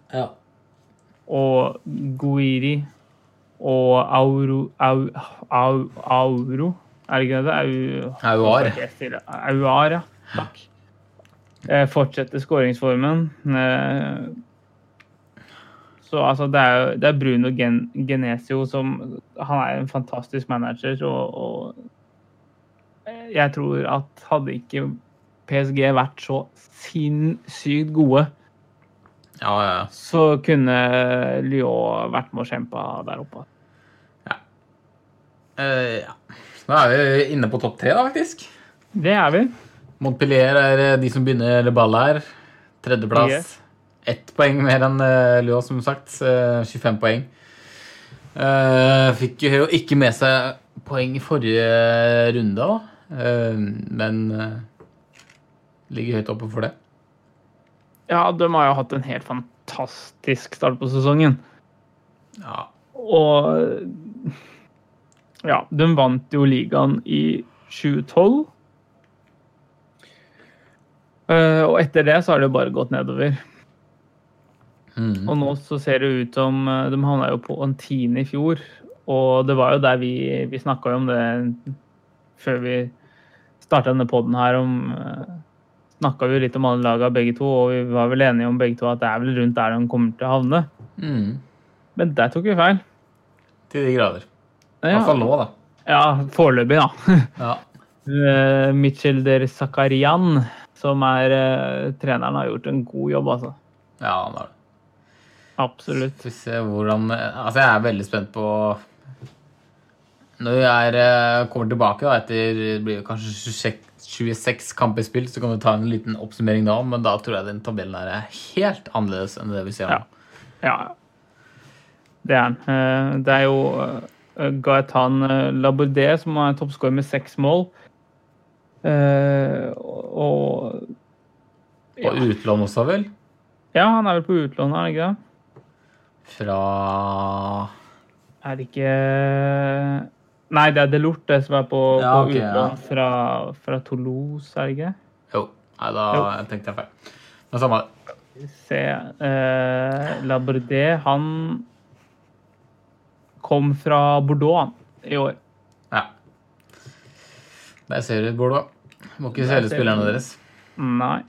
Ja.
og Guiri og Auro Au, Au, Auro Er det ikke det? Au,
Auar.
Auar, ja. Takk. Eh, fortsetter skåringsformen. Eh, så altså, det er, jo- det er Bruno Gen Genesio som Han er en fantastisk manager, og, og eh, jeg tror at hadde ikke PSG vært så sinnssykt gode,
Ja, ja, ja.
så kunne Lyon vært med og kjempa der oppe.
Eh, ja. Nå er vi inne på topp tre, da, faktisk.
Det er vi.
Montpellier er eh, de som begynner eller ball her. Tredjeplass.
Yes.
Ett poeng mer enn eh, Lyon, som sagt. Eh, 25 poeng. Eh, fikk jo ikke med seg poeng i forrige runde, da. Eh, men eh, ligger høyt oppe for det.
Ja, de har jo hatt en helt fantastisk start på sesongen.
Ja.
Og ja, de vant jo ligaen i 2012. Eh, og etter det så har det jo bare gått nedover.
Mm.
Og nå så ser det ut som eh, De havna jo på en tiende i fjor, og det var jo der vi, vi snakka jo om det før vi starta denne poden her, om Snakka jo litt om alle laga begge to, og vi var vel enige om begge to at det er vel rundt der de kommer til å havne.
Mm.
Men der tok vi feil.
Til de grader. I hvert
Ja,
fall nå, da.
ja foreløpig, da. [laughs]
Ja.
Eh, Mitchell der Zakarian, som er eh, Treneren har gjort en god jobb, altså.
Ja, han har det.
Absolutt.
Skal vi se hvordan Altså, jeg er veldig spent på Når jeg er, eh, kommer tilbake da, etter det blir jo kanskje 26 26 kamper spilt, så kan vi ta en liten oppsummering da, men da tror jeg den tabellen her er helt annerledes enn det vi ser nå.
Ja, det er han. Eh, Det er jo eh, Gaetan eh, Labordé som er toppskårer med seks mål. Eh, Og
Og utlån også, vel?
Ja, han er vel på utlån, er han ikke det?
Fra
Er det ikke eh, Nei, det er Delort det som er på,
Ja,
på
ok, ja.
utlån fra, fra Toulouse, er det ikke?
Jo. Nei, da
Jo.
tenkte jeg feil. Men samme det.
se eh, Labordé, han kom fra Bordeaux han, i år.
Ja. Der ser du, Bård, da. Må ikke
Der
selge
ser
spillerne
du.
deres.
Nei,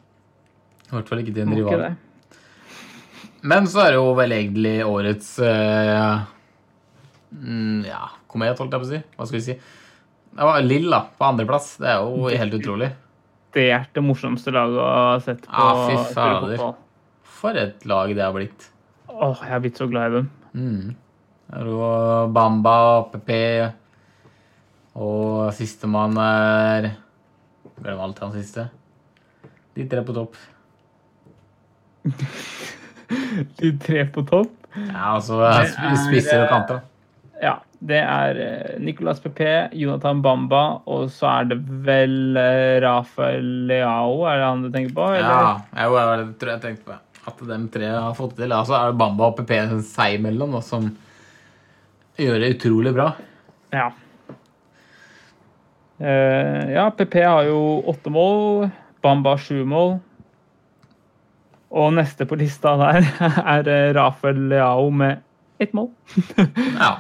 I hvert fall ikke til en
må ikke
rival.
det.
Men så er det jo vel egentlig årets eh, mm, Ja, komet, holdt jeg på å si. Hva skal vi si? Det var Lill, da, på andreplass. Det er jo helt utrolig.
Det er det morsomste laget jeg har sett på
Ah, fy
spille
fader.
fotball.
For et lag det har blitt.
Åh, jeg er blitt så glad i dem.
Mm. Det er jo Bamba, PP og sistemann er Glem alt han siste. De tre på topp.
[laughs] De tre på topp.
Ja, altså
Det er,
spisser og kanter.
Ja, det er eh, Nicolas PP, Jonathan Bamba, og så er det vel eh, Rafael Leao, er det han du tenker på? eller?
Ja, jeg, jeg, det tror jeg jeg tenkte på. At de tre har fått det til. Altså er det Bamba og PP seg imellom da, som gjør det utrolig bra.
Ja. Eh, ja, PP har jo åtte mål. Bamba har sju mål. Og neste på lista der [laughs] er eh, Rafael Leao med ett mål.
Ja.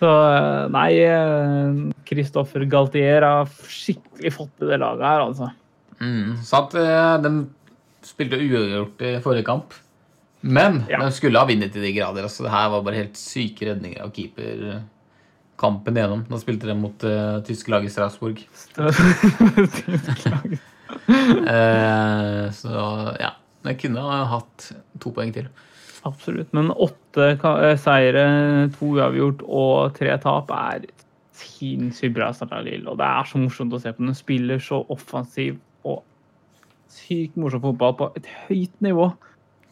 Så eh, nei, eh, Christoffer Galtier har skikkelig fått til det laget her, altså. [laughs]
Mm. Så at eh, de spilte uavgjort i forrige kamp. Men
Ja.
de skulle ha vunnet i de grader. Altså, det her var bare helt syke redninger av keeper eh, kampen igjennom. Da spilte de mot uh, tysk lag i Strasbourg. Eh, så ja. De kunne ha hatt to poeng til.
Absolutt. Men åtte ka- eh, seire, to uavgjort og tre tap er sinnssykt bra starta Lill. Og det er så morsomt å se på. Hun spiller så offensiv og sykt morsom fotball på et høyt nivå.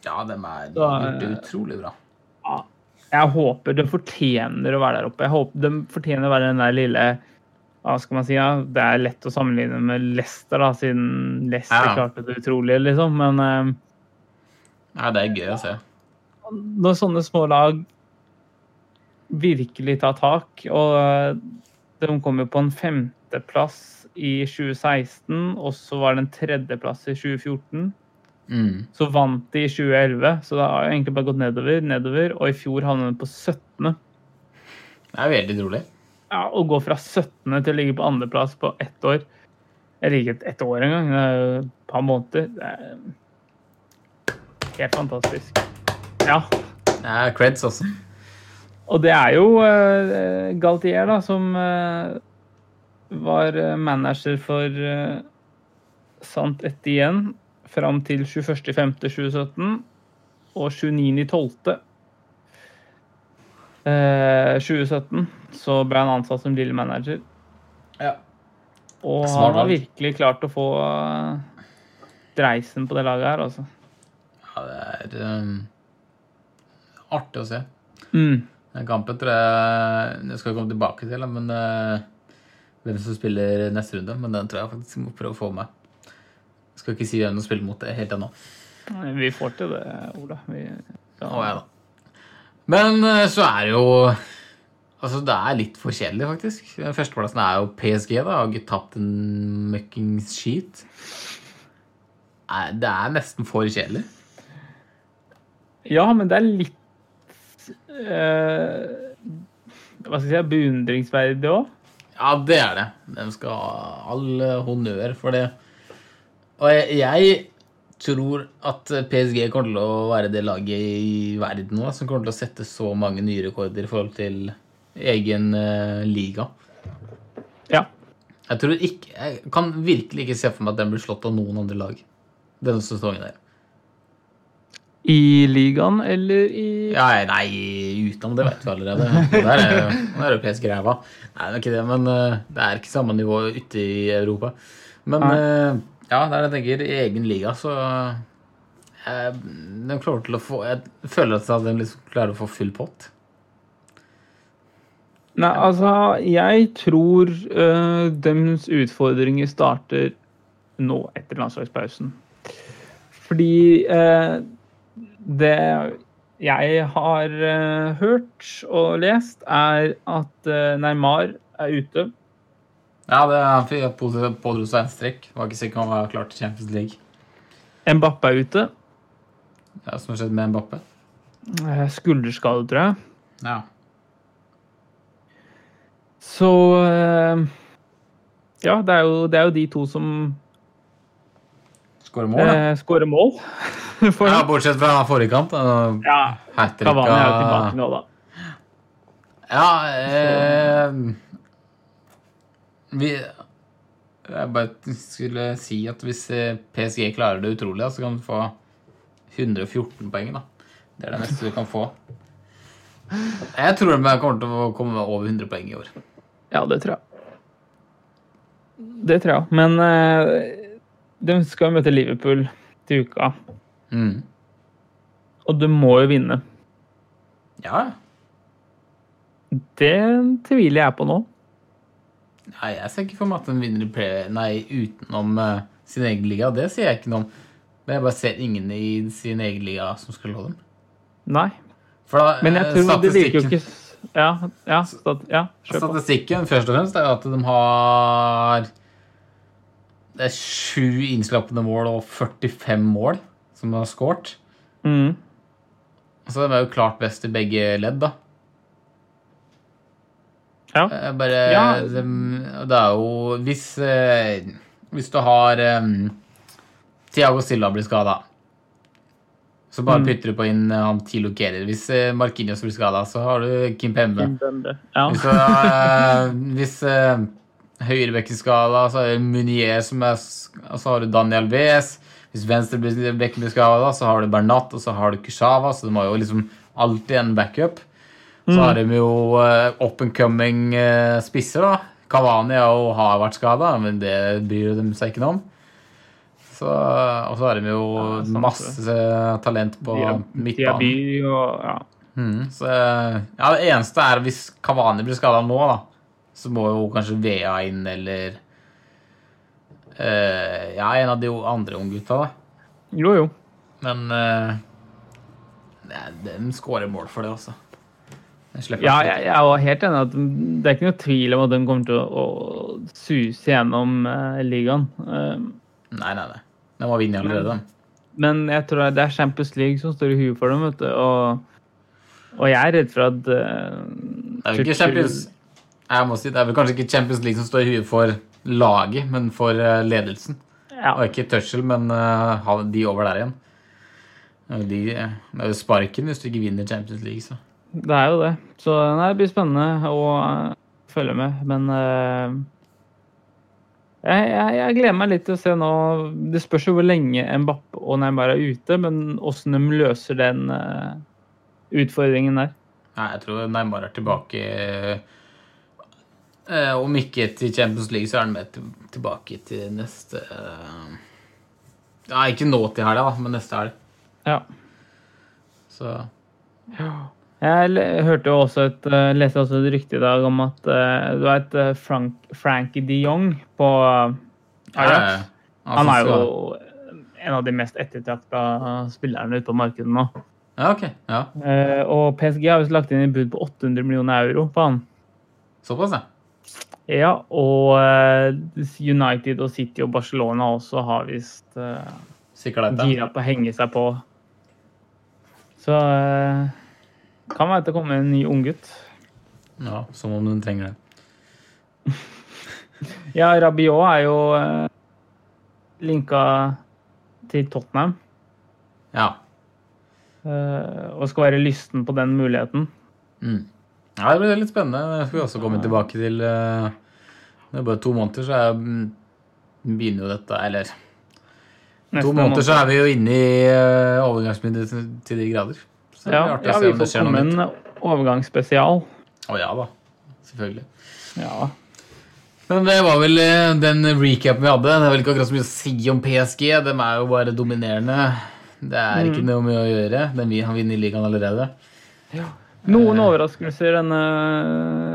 Ja, de er
Da,
gjort det
eh,
utrolig bra.
Ja, Jeg håper de fortjener å være der oppe. Jeg håper De fortjener å være den der lille hva skal man si, ja, Det er lett å sammenligne med Leicester, da, siden Leicester
Ja.
klarte det utrolig, liksom. Men eh,
Ja, det er gøy å se.
når sånne små lag virkelig tar tak, og eh, de kom jo på en femteplass i 2016, og så var det en tredjeplass i 2014.
Mm.
Så vant de i 2011, så det har jo egentlig bare gått nedover, nedover, og i fjor havnet de på 17.
Det er veldig utrolig.
Ja, Å gå fra 17. til å ligge på andreplass på ett år Jeg liker ikke ett år engang, det er jo et par måneder. Det er helt fantastisk. Ja.
Det er creds også.
Og det er jo eh, Galtier, da, som eh, var eh, manager for eh, Sant Etienne fram til 21.5.2017 og 29.12. Eh, 2017 så ble han ansatt som lille manager.
Ja.
Og
Smart
han har
valg.
virkelig klart å få eh, dreisen på det laget her, altså.
det er um, artig å se.
Mm.
Den kampen tror jeg Det skal vi komme tilbake til, da, men eh, hvem som spiller neste runde. Men den tror jeg faktisk jeg må prøve å få med. Jeg skal ikke si hvem som spiller mot det helt ennå.
Vi får til det, Ola. Vi,
Nå er jeg da. Men eh, så er det jo Altså, det er litt for kjedelig, faktisk. Den Førsteplassen er jo PSG, da. Har ikke tapt en møkkings skit. Nei, Det er nesten for kjedelig.
Ja, men det er litt eh, Hva skal jeg si beundringsverdig òg.
Ja, det er det. De skal ha all eh, honnør for det. Og jeg, jeg tror at PSG kommer til å være det laget i verden nå som kommer til å sette så mange nye rekorder i forhold til egen eh, liga.
Ja.
Jeg, tror ikke, jeg kan virkelig ikke se for meg at den blir slått av noen andre lag denne sesongen. her.
I ligaen eller i
Ja, nei, utenom det vet vi allerede. Det der er jo den europeiske ræva. Nei, det er ikke det, men eh, det er ikke samme nivå ute i Europa. Men
Nei.
eh, ja, det er det jeg tenker. I egen liga så eh, de klarer til å få Jeg føler at de liksom klarer å få full pott.
Nei, altså, jeg tror uh, dems utfordringer starter nå, etter landslagspausen. Fordi eh, det jeg har eh, hørt og lest, er at eh, Neymar er ute.
Ja, det er pådro seg en strekk. Var ikke sikker på om han var klar til Champions League.
Mbappé er ute.
Ja, som har skjedd med Mbappé.
Eh, Skulderskade, tror jeg.
Ja.
Så eh, Ja, det er, jo, det er jo de to som
Skårer mål, da.
uh, skårer mål. [laughs] For,
Ja, bortsett fra forrige kamp. da.
ja,
Hat-trick
Cavani er jo
av-
tilbake nå, da.
Ja eh, Vi Jeg bare skulle si at hvis eh, PSG klarer det utrolig, da, så kan du få 114 poeng, da. Det er det neste du kan få. Jeg tror de kommer til å komme over 100 poeng i år.
Ja, det tror jeg. Det tror jeg. Men eh, de skal jo møte Liverpool til uka,
Mm.
og de må jo vinne.
Ja,
Det tviler jeg på nå.
Nei, jeg ser ikke for meg at de vinner i play... Nei, utenom eh, sin egen liga. Det sier jeg ikke noe om. Men jeg bare ser ingen i sin egen liga som skal slå dem.
Nei.
For da,
Men jeg
eh,
tror det virker jo
statistikken-
ikke s- Ja, ja, stat, ja kjør på.
Statistikken først og fremst er jo at de har Det er sju innslappende mål og 45 mål som de har skåret.
Mm.
Så de er jo klart best i begge ledd, da.
Ja.
Eh, Bare
Ja.
de, Det er jo Hvis, eh, hvis du har eh, Thiago Silva blir skada, så
Mm.
bare putter du på inn eh, han Tilo Kerer. Hvis eh, Marquinhos blir skada, så har du Kim Pembe.
Ja.
Hvis, eh, hvis eh, høyrebekkeskala, så er det Munier som er sk- og Så har du Daniel Wes. Hvis venstrebekken blir skada, så har du Bernat og så har du Kushava. Så de har jo liksom alltid en backup.
Mm.
Så har de jo eh, up and coming eh, spisser, da. Kavani har jo har vært skada, men det bryr de seg ikke noe om. Så, eh, og så har de jo
Ja, sant det.
masse talent på
Dia-
midtbanen.
Diaby og ja.
Mm, så, ja, det eneste er hvis Kavani blir skada nå, da, så må jo kanskje Vea inn, eller eh, Ja, en av de andre unggutta, da.
Jo, jo.
Men uh, de skårer mål for det, altså. Jeg slipper
Ja,
ikke.
jeg, jeg var helt enig. i at de- Det er ikke noe tvil om at de kommer til å, å suse gjennom eh, ligaen. Eh,
Nei, nei, nei. De må vinne allerede. de.
Men jeg tror det er Champions League som står i huet for dem, vet du. Og, og jeg er redd for at eh,
Det er jo ikke
Tuchel-
Champions Jeg må si, det er vel kanskje ikke Champions League som står i huet for laget, men for eh, ledelsen.
Ja,
Og ikke Tuchel, men eh, ha de over der igjen. Det er jo De, eh, det er jo sparken hvis du ikke vinner Champions League, så.
det er jo det. Så nei, det blir spennende å eh, følge med. Men eh, jeg, jeg, jeg gleder meg litt til å se nå Det spørs jo hvor lenge Mbappé og Neymar er ute, men åssen de løser den eh, utfordringen der.
Nei, jeg tror Neymar er tilbake eh, Om ikke til Champions League, så er han med til, tilbake til neste eh, Nei, ikke nå til helga, da, men neste helg.
Ja.
Så
Jeg l- hørte jo også et, eh, leste også et rykte i dag om at eh, du vet eh, Frank, Frankie de Jong på eh, Ajax.
Ja,
Han er
så-
jo en av de mest ettertrakta spillerne ute på markedet nå.
Ja, ok. Ja,
Eh, Og PSG har visst lagt inn et bud på 800 millioner euro på han.
Såpass, ja.
Ja, og eh, United og City og Barcelona også har visst eh,
Sikkert dette.
gira på å henge seg på. Så eh, kan være at det kommer en ny unggutt.
Ja, som om hun trenger det.
Ja, Rabiot er jo eh, linka til Tottenham
Ja.
eh, og skal være lysten på den muligheten.
Mm. Ja, det blir litt spennende. Det skal vi også komme tilbake til eh, Det er bare to måneder, så er, mm, begynner jo dette Eller
Neste
to måneder,
måned.
så er vi jo inne i eh, overgangsmiddelet til, til de grader. Så det
ja,
blir artig
ja,
å se
vi
om det
får
skjer noe
komme
nytt.
en overgangsspesial.
Å ja da. Selvfølgelig.
Ja.
Men det var vel eh, den recapen vi hadde. Det er vel ikke akkurat så mye å si om PSG. De er jo bare dominerende. Det er
Mm.
ikke noe mye å gjøre. De vi- har vunnet ligaen allerede.
Noen overraskelser denne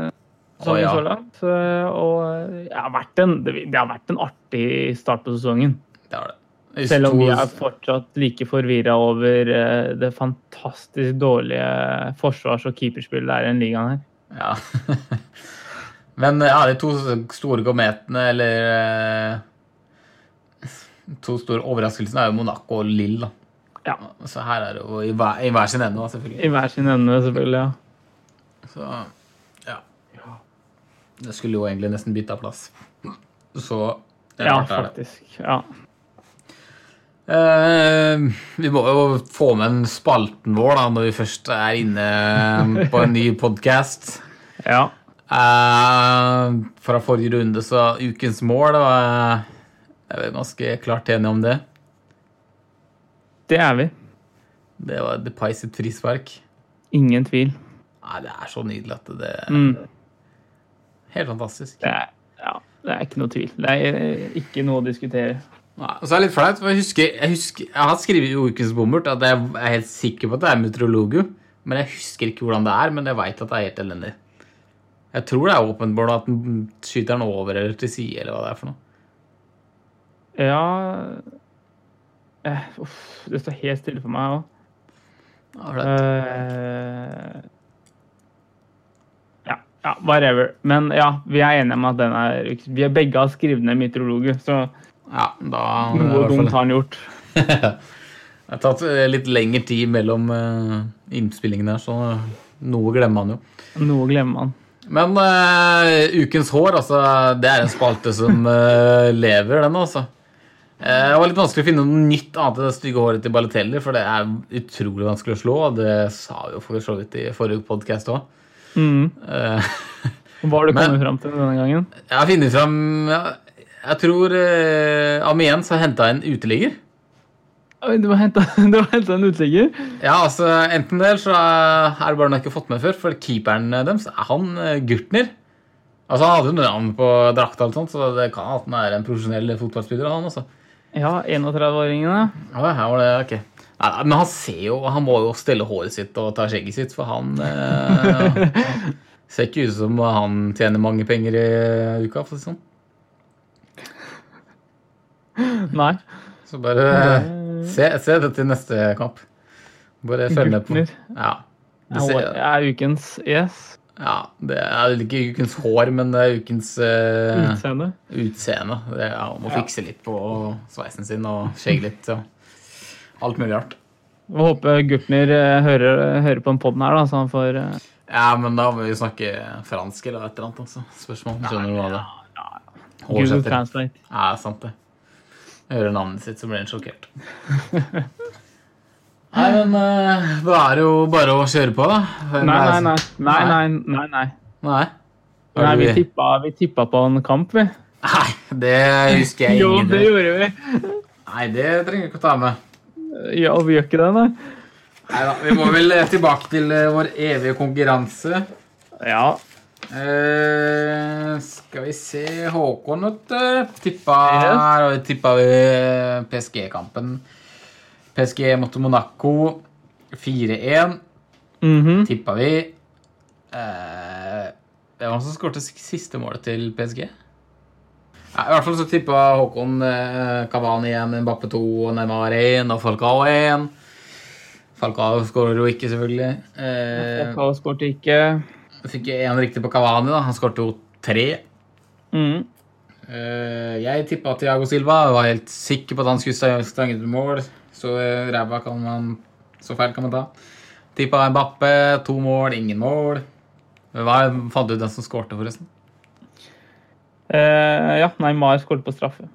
Eh. Å,
sesongen
ja.
så langt. eh, Og det har, vært en, det har vært en artig start på sesongen.
Det har det. Hvis
Selv om
to-
vi er fortsatt like forvirra over eh, det fantastisk dårlige forsvars- og keeperspillet det er i den ligaen her.
Ja. Men ja, de to store kometene, eller eh, To store overraskelsene er jo Monaco og Lille, da.
Ja.
Så her er det jo i hver, i hver sin ende, da, selvfølgelig.
I hver sin ende, selvfølgelig. ja.
Så ja. Det skulle jo egentlig nesten bytta plass. Så det er
Ja,
klart det er det.
faktisk. Ja.
Eh, vi må jo få med en spalten vår da, når vi først er inne på en ny podkast.
ja.
Eh, fra forrige runde, så ukens mål da, Jeg er vel ganske klart enig om det.
Det er vi.
Det var Depay sitt frispark.
Ingen tvil.
Nei, det er så nydelig at det
Mm.
Helt fantastisk.
Det er, ja, det er ikke noe tvil. Det er eh, ikke noe å diskutere.
Nei, og så er det litt flaut, for jeg husker Jeg, husker, jeg har skrevet i Ukens bommert at jeg er helt sikker på at det er meteorologu, men jeg husker ikke hvordan det er, men jeg veit at det er helt elendig. Jeg tror det er åpent mål at den skyter den over eller til side eller hva det er for noe.
Ja eh, Uff, det står helt stille for meg òg.
Ja, for det-
Eh, ja, ja, whatever. Men ja, vi er enige om at den er Vi er begge har skrevet ned meteorologer, så
Ja, da det er i
noe
hvert fall-
dumt har han gjort.
Det har tatt eh, litt lengre tid mellom eh, innspillingene her, så noe glemmer man jo.
Noe glemmer man.
Men eh, Ukens hår, altså, det er en spalte som [laughs] eh, lever, den, altså. Eh, det var litt vanskelig å finne noe nytt annet enn det stygge håret til Balotelli, for det er utrolig vanskelig å slå, og det sa vi jo for så vidt i forrige podkast òg.
Mm. Hva har du
Men-
kommet fram til denne gangen?
[laughs] jeg har funnet fram ja, Jeg tror uh, Amiens har henta en uteligger.
Oi, du har
[laughs]
henta en uteligger?
Ja, altså, enten det, eller så er det bare noe jeg ikke har fått med før. For keeperen deres, er han eh, Gurtner? Altså, Han hadde jo navn på drakta, og alt sånt, så det kan at han er en profesjonell fotballspiller. han altså. også.
Ja, 31-åringene.
Å, ja, her var det, ok. Nei, nei, men han ser jo, han må jo stelle håret sitt og ta skjegget sitt, for han [laughs] eh, ser ikke ut som han tjener mange penger i uka. for å si det sånn.
Nei.
Så bare eh, se, se det til neste kamp. Bare følg med på.
Gurtner.
Ja. Du
Det
ser,
er ukens yes.
ja, det er vel ikke ukens hår, men det er ukens eh,
Utseende.
utseende. Det er om å
Ja.
fikse litt på sveisen sin og skjegge litt. og Alt mulig rart.
Vi håper Gurtner eh, hører, hører på den poden her, da, så han får eh,
Ja, men da må vi snakke fransk eller et eller annet. altså. Spørsmål. Skjønner du hva det er?
Google
Oversetter.
Translate.
Ja, sant det. Hører navnet sitt, så blir han sjokkert.
[laughs]
Nei, men eh, da er det jo bare å kjøre på, da. Hvem
Nei,
er
nei,
det som-
nei. nei, nei, nei, nei.
Nei.
nei
Har du-
vi, tippa, vi tippa på en kamp, vi.
Nei, det husker jeg
Jo, det
ingenting
gjorde vi.
Nei, det trenger vi ikke å ta med.
Ja, og vi gjør ikke det, nei.
Neida, Vi må vel eh, tilbake til eh, vår evige konkurranse.
Ja.
Eh, skal vi se Håkon, vet du. Tippa, her, og tippa eh, vi PSG-kampen. PSG mot Monaco 4-1,
Mhm.
tippa vi. Eh, det var han som skåret siste målet til PSG. Ja, I hvert fall så tippa Håkon eh, Cavani 1, Mbappe 2, og Neymar 1 og Falcao 1. Falcao skårer jo ikke, selvfølgelig. Eh,
Falcao skårte ikke.
jeg fikk én riktig på Cavani. da. Han skåret jo tre.
Mhm.
Eh, jeg tippa Tiago Silva. Jeg var helt sikker på at han skulle sta- stange til mål. Så eh, ræva kan man Så feil kan man ta. Tippa Mbappe. To mål, ingen mål. Hva fant du ut den som skårte, forresten?
Eh, ja, Neymar skårte på straffe.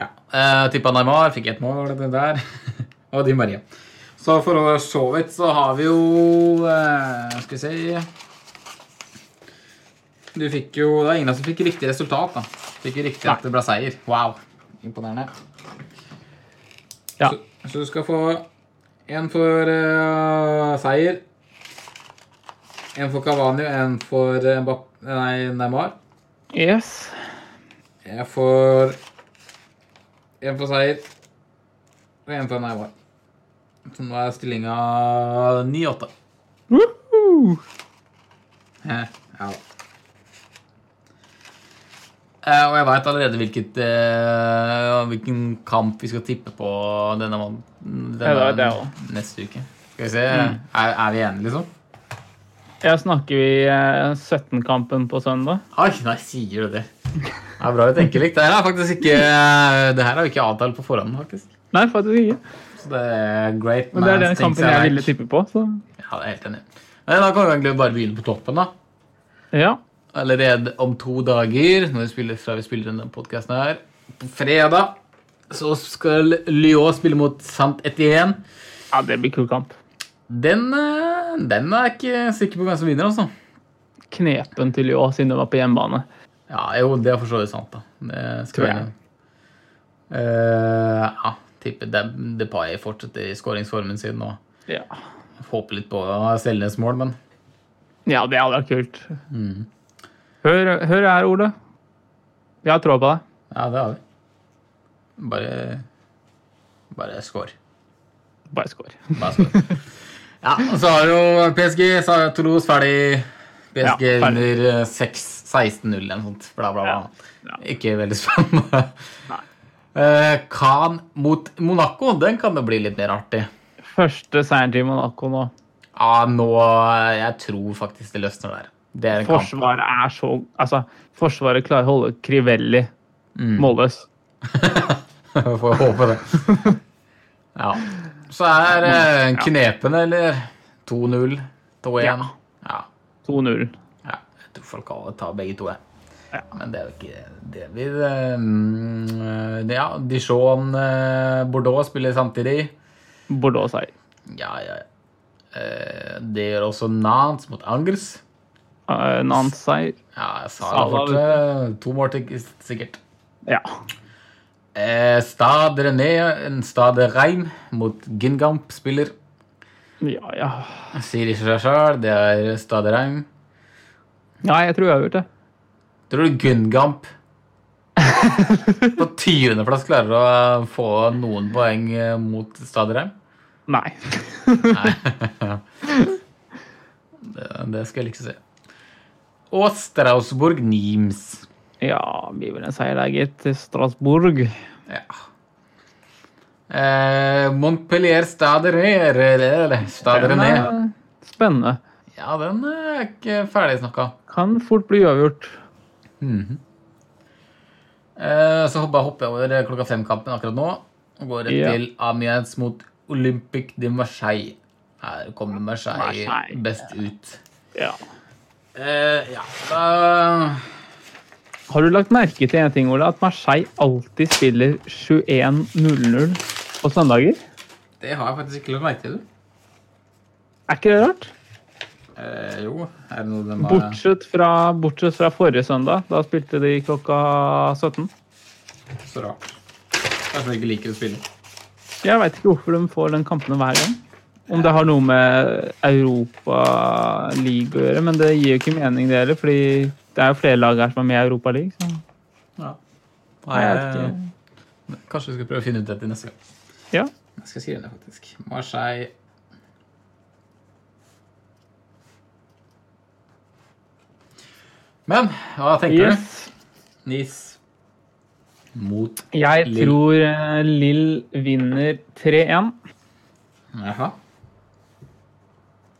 Ja. Uh, tippa Neymar. Fikk ett mål, det der. [laughs] Og Di Maria. Så for å så vidt så har vi jo eh, Skal vi se Du fikk jo, Det er ingen som fikk riktig resultat. da. Fikk jo riktig at det ble seier. Wow. Imponerende.
Ja.
Så, så du skal få en for eh, seier, en for Cavani og en for eh, Mbapp- nei, Neymar.
Yes.
Jeg får en for seier og en for Neymar. Så nå er stillinga 9-8.
Woohoo!
Eh, Ja. Eh, Og jeg veit allerede hvilket, eh, hvilken kamp vi skal tippe på denne, mån- denne
Ja, det Mm. er det
neste uke. Skal vi se. Er, er vi enige, liksom?
Ja, snakker vi eh, 17-kampen på søndag?
Oi, nei, sier du det? Det er bra vi tenker likt. Det her er faktisk ikke Det her har vi ikke avtalt på forhånd, faktisk.
Nei, faktisk ikke.
Så det er great.
Men det er
minds
den
think
kampen jeg
alike.
ville tippe på. Så.
Ja, det er helt enig. Men da kan vi egentlig bare begynne på toppen, da.
Ja.
Allerede om to dager, når vi spiller, fra vi spiller denne podkasten her, på fredag, så skal Lyon spille mot Sant Etienne.
ja, det blir kul kamp.
Den, eh, den er jeg ikke sikker på hvem som vinner, altså.
Knepen til Ljå, siden de var på hjemmebane.
Ja, jo, det er for så vidt sant, da. Det skal
Tror
være.
jeg.
Eh, ja, tipper Dep- Depay fortsetter i skåringsformen sin og
Ja,
håper litt på Selnes mål, men
ja det hadde vært kult. Hør, hør her, Ole. Jeg har troa på deg.
ja, det har vi. Bare Bare score.
Bare score.
Bare skål. ja, og så har jo PSG så har jo Toulouse ferdig. PSG
Ja, ferdig.
vinner eh, 6-16-0 eller noe sånt. Bla, bla, bla.
Ja.
Ikke veldig spennende.
Nei.
Eh, Caen mot Monaco, den kan det bli litt mer artig.
[laughs] Første seieren til Monaco nå.
Ja, nå eh, Jeg tror faktisk det løsner der. Det er en kamp.
Forsvaret er så Altså, Forsvaret klarer å holde Crivelli målløs.
[laughs] Får håpe det. ja. Så er eh, knepen, eller 2-0, 2-1.
Ja.
ja.
2-0.
Ja, jeg tror folk alle tar begge to, jeg.
Ja.
Men det er jo ikke det vi eh, mm, det- Ja, Dijon eh, Bordeaux spiller samtidig.
Bordeaux-seier.
Ja, ja. ja. Eh, Det gjør også Nantes mot Angers.
Eh, Nantes-seier.
Ja, Sala
Salah,
fortsatt. To mål til, sikkert.
Ja.
Eh, Stade René, en Stade Reim mot Gingamp spiller.
Ja, ja.
Sier ikke seg sjøl, det er Stade Reim.
Ja, jeg tror jeg har gjort det.
Tror du Gungamp på 20.-plass klarer å eh, få noen poeng eh, mot Staderheim?
Nei. [laughs]
Nei. [laughs] det, det skal jeg liksom se. Og Strausborg Nims.
ja, blir vel en seier der, gitt. Til Strasbourg.
Ja. Eh, Montpellier Staderé Staderné.
Eh, Spennende.
Ja, den eh, er ikke ferdig snakka.
Kan fort bli uavgjort.
Eh, så bare hopper jeg over klokka fem-kampen akkurat nå. Og går rett
Ja.
til Amiens mot Olympic de Marseille. Her kommer Marseille,
Marseille.
best ut.
Ja.
Eh, ja, da
Har du lagt merke til en ting, Ole? At Marseille alltid spiller 21.00 på søndager?
Det har jeg faktisk ikke lagt merke til.
Er ikke det rart?
Eh, jo, er det noe de har
Bortsett fra, bortsett fra forrige søndag. Da spilte de klokka 17.
så rart? Kanskje de ikke liker å spille.
Jeg veit ikke hvorfor de får den kampene hver gang. Om det har noe med Europaligaen å gjøre, men det gir jo ikke mening, det heller. fordi det er jo flere lag her som er med i Europaligaen.
Ja.
så jeg vet ikke.
Kanskje vi skal prøve å finne ut dette neste gang.
Ja.
Jeg skal skrive det, faktisk. Marseille Men hva tenker du?
Yes.
Nice mot
Jeg
Lill.
tror eh, Lill vinner 3-1.
Jaha.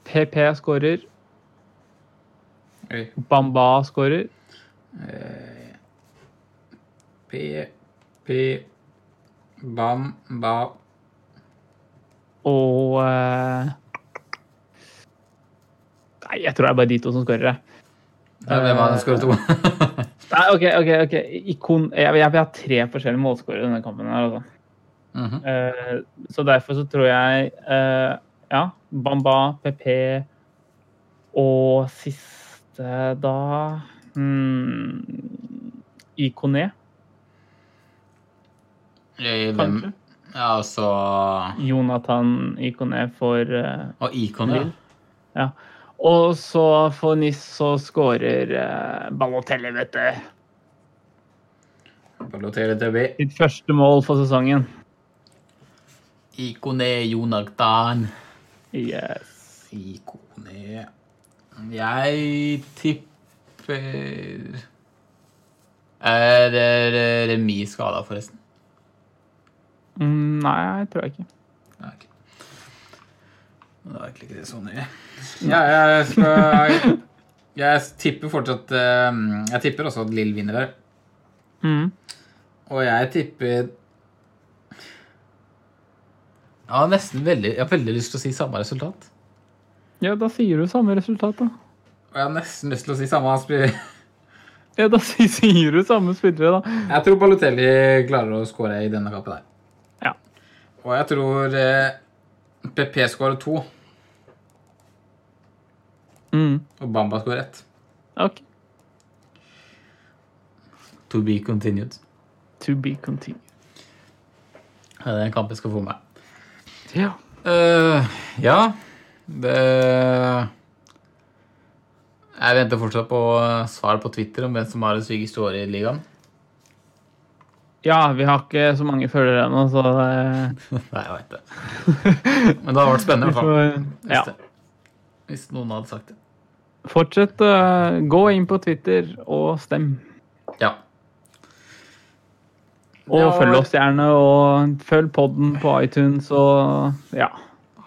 PP skårer.
Oi.
Bamba skårer.
P... P... Bam... Ba...
Og eh, Nei, jeg tror det er bare de to som skårer. jeg.
Nei, Hvem var det som skåret to?
Nei, OK, OK. ok. Ikon, jeg, jeg vil ha tre forskjellige målskårere i denne kampen. her, altså.
Mhm.
Eh, så derfor så tror jeg eh, ja, Bamba, PP og siste da Hmm. Ikoné,
I Eh, hvem?
kanskje?
Ja, altså- og så
Jonathan Ikoné for eh,
Og Icon, ja.
Lille. Ja. Og så for NIS så skårer eh, Balotelli, vet du.
Balotelli Tøbbi.
Sitt første mål for sesongen.
Icon er Jonathan.
Yes.
Ikone Jeg tipper Er det remis skada, forresten?
Mm, nei, jeg tror jeg ikke.
Nei, ok. Men det var egentlig ikke det så nøye. Ja, jeg skal Jeg tipper fortsatt eh, Jeg tipper også at Lill vinner der.
Mm.
Og jeg tipper Jeg har nesten veldig, jeg har veldig lyst til å si samme resultat.
Ja, da sier du samme resultat, da.
Og jeg har nesten lyst til å si samme spiller.
Ja, da [laughs] si- sier du samme spillere, da.
Jeg tror Balotelli klarer å skåre i denne kampen her.
Ja.
Og jeg tror eh, PP skårer to,
Mm.
og Bamba skårer ett.
OK.
To be continued.
To be continued.
Ja, Det er en kamp jeg skal få med.
Ja.
Eh, ja, det Jeg venter fortsatt på eh, svar på Twitter om hvem som har det sykeste året i ligaen. [laughs]
ja, vi har ikke så mange følgere ennå, så eh,
Nei, jeg veit det. Men det har vært spennende, i
vi
hvert fall.
får
Hvis,
ja.
det, hvis noen hadde sagt det.
Fortsett. eh, gå inn på Twitter og stem.
Ja.
Og
Ja,
følg oss gjerne, og følg podden på iTunes og ja,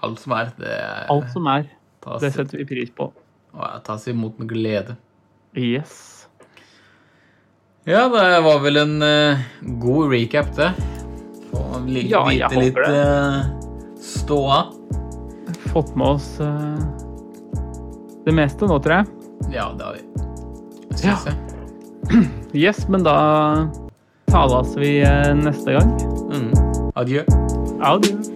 Alt som er. Det er-
alt som er. Det
tas,
setter vi pris på.
og tas imot med glede.
Yes.
Ja, det var vel en eh, god recap, det. Få li
Ja, jeg
vite litt
håper det.
eh, ståa.
Fått med oss eh, det meste nå, tror jeg.
Ja, det har vi. Syns
Ja.
jeg.
Yes, men da tales vi eh, neste gang.
Mm. Adjø.
Adjø.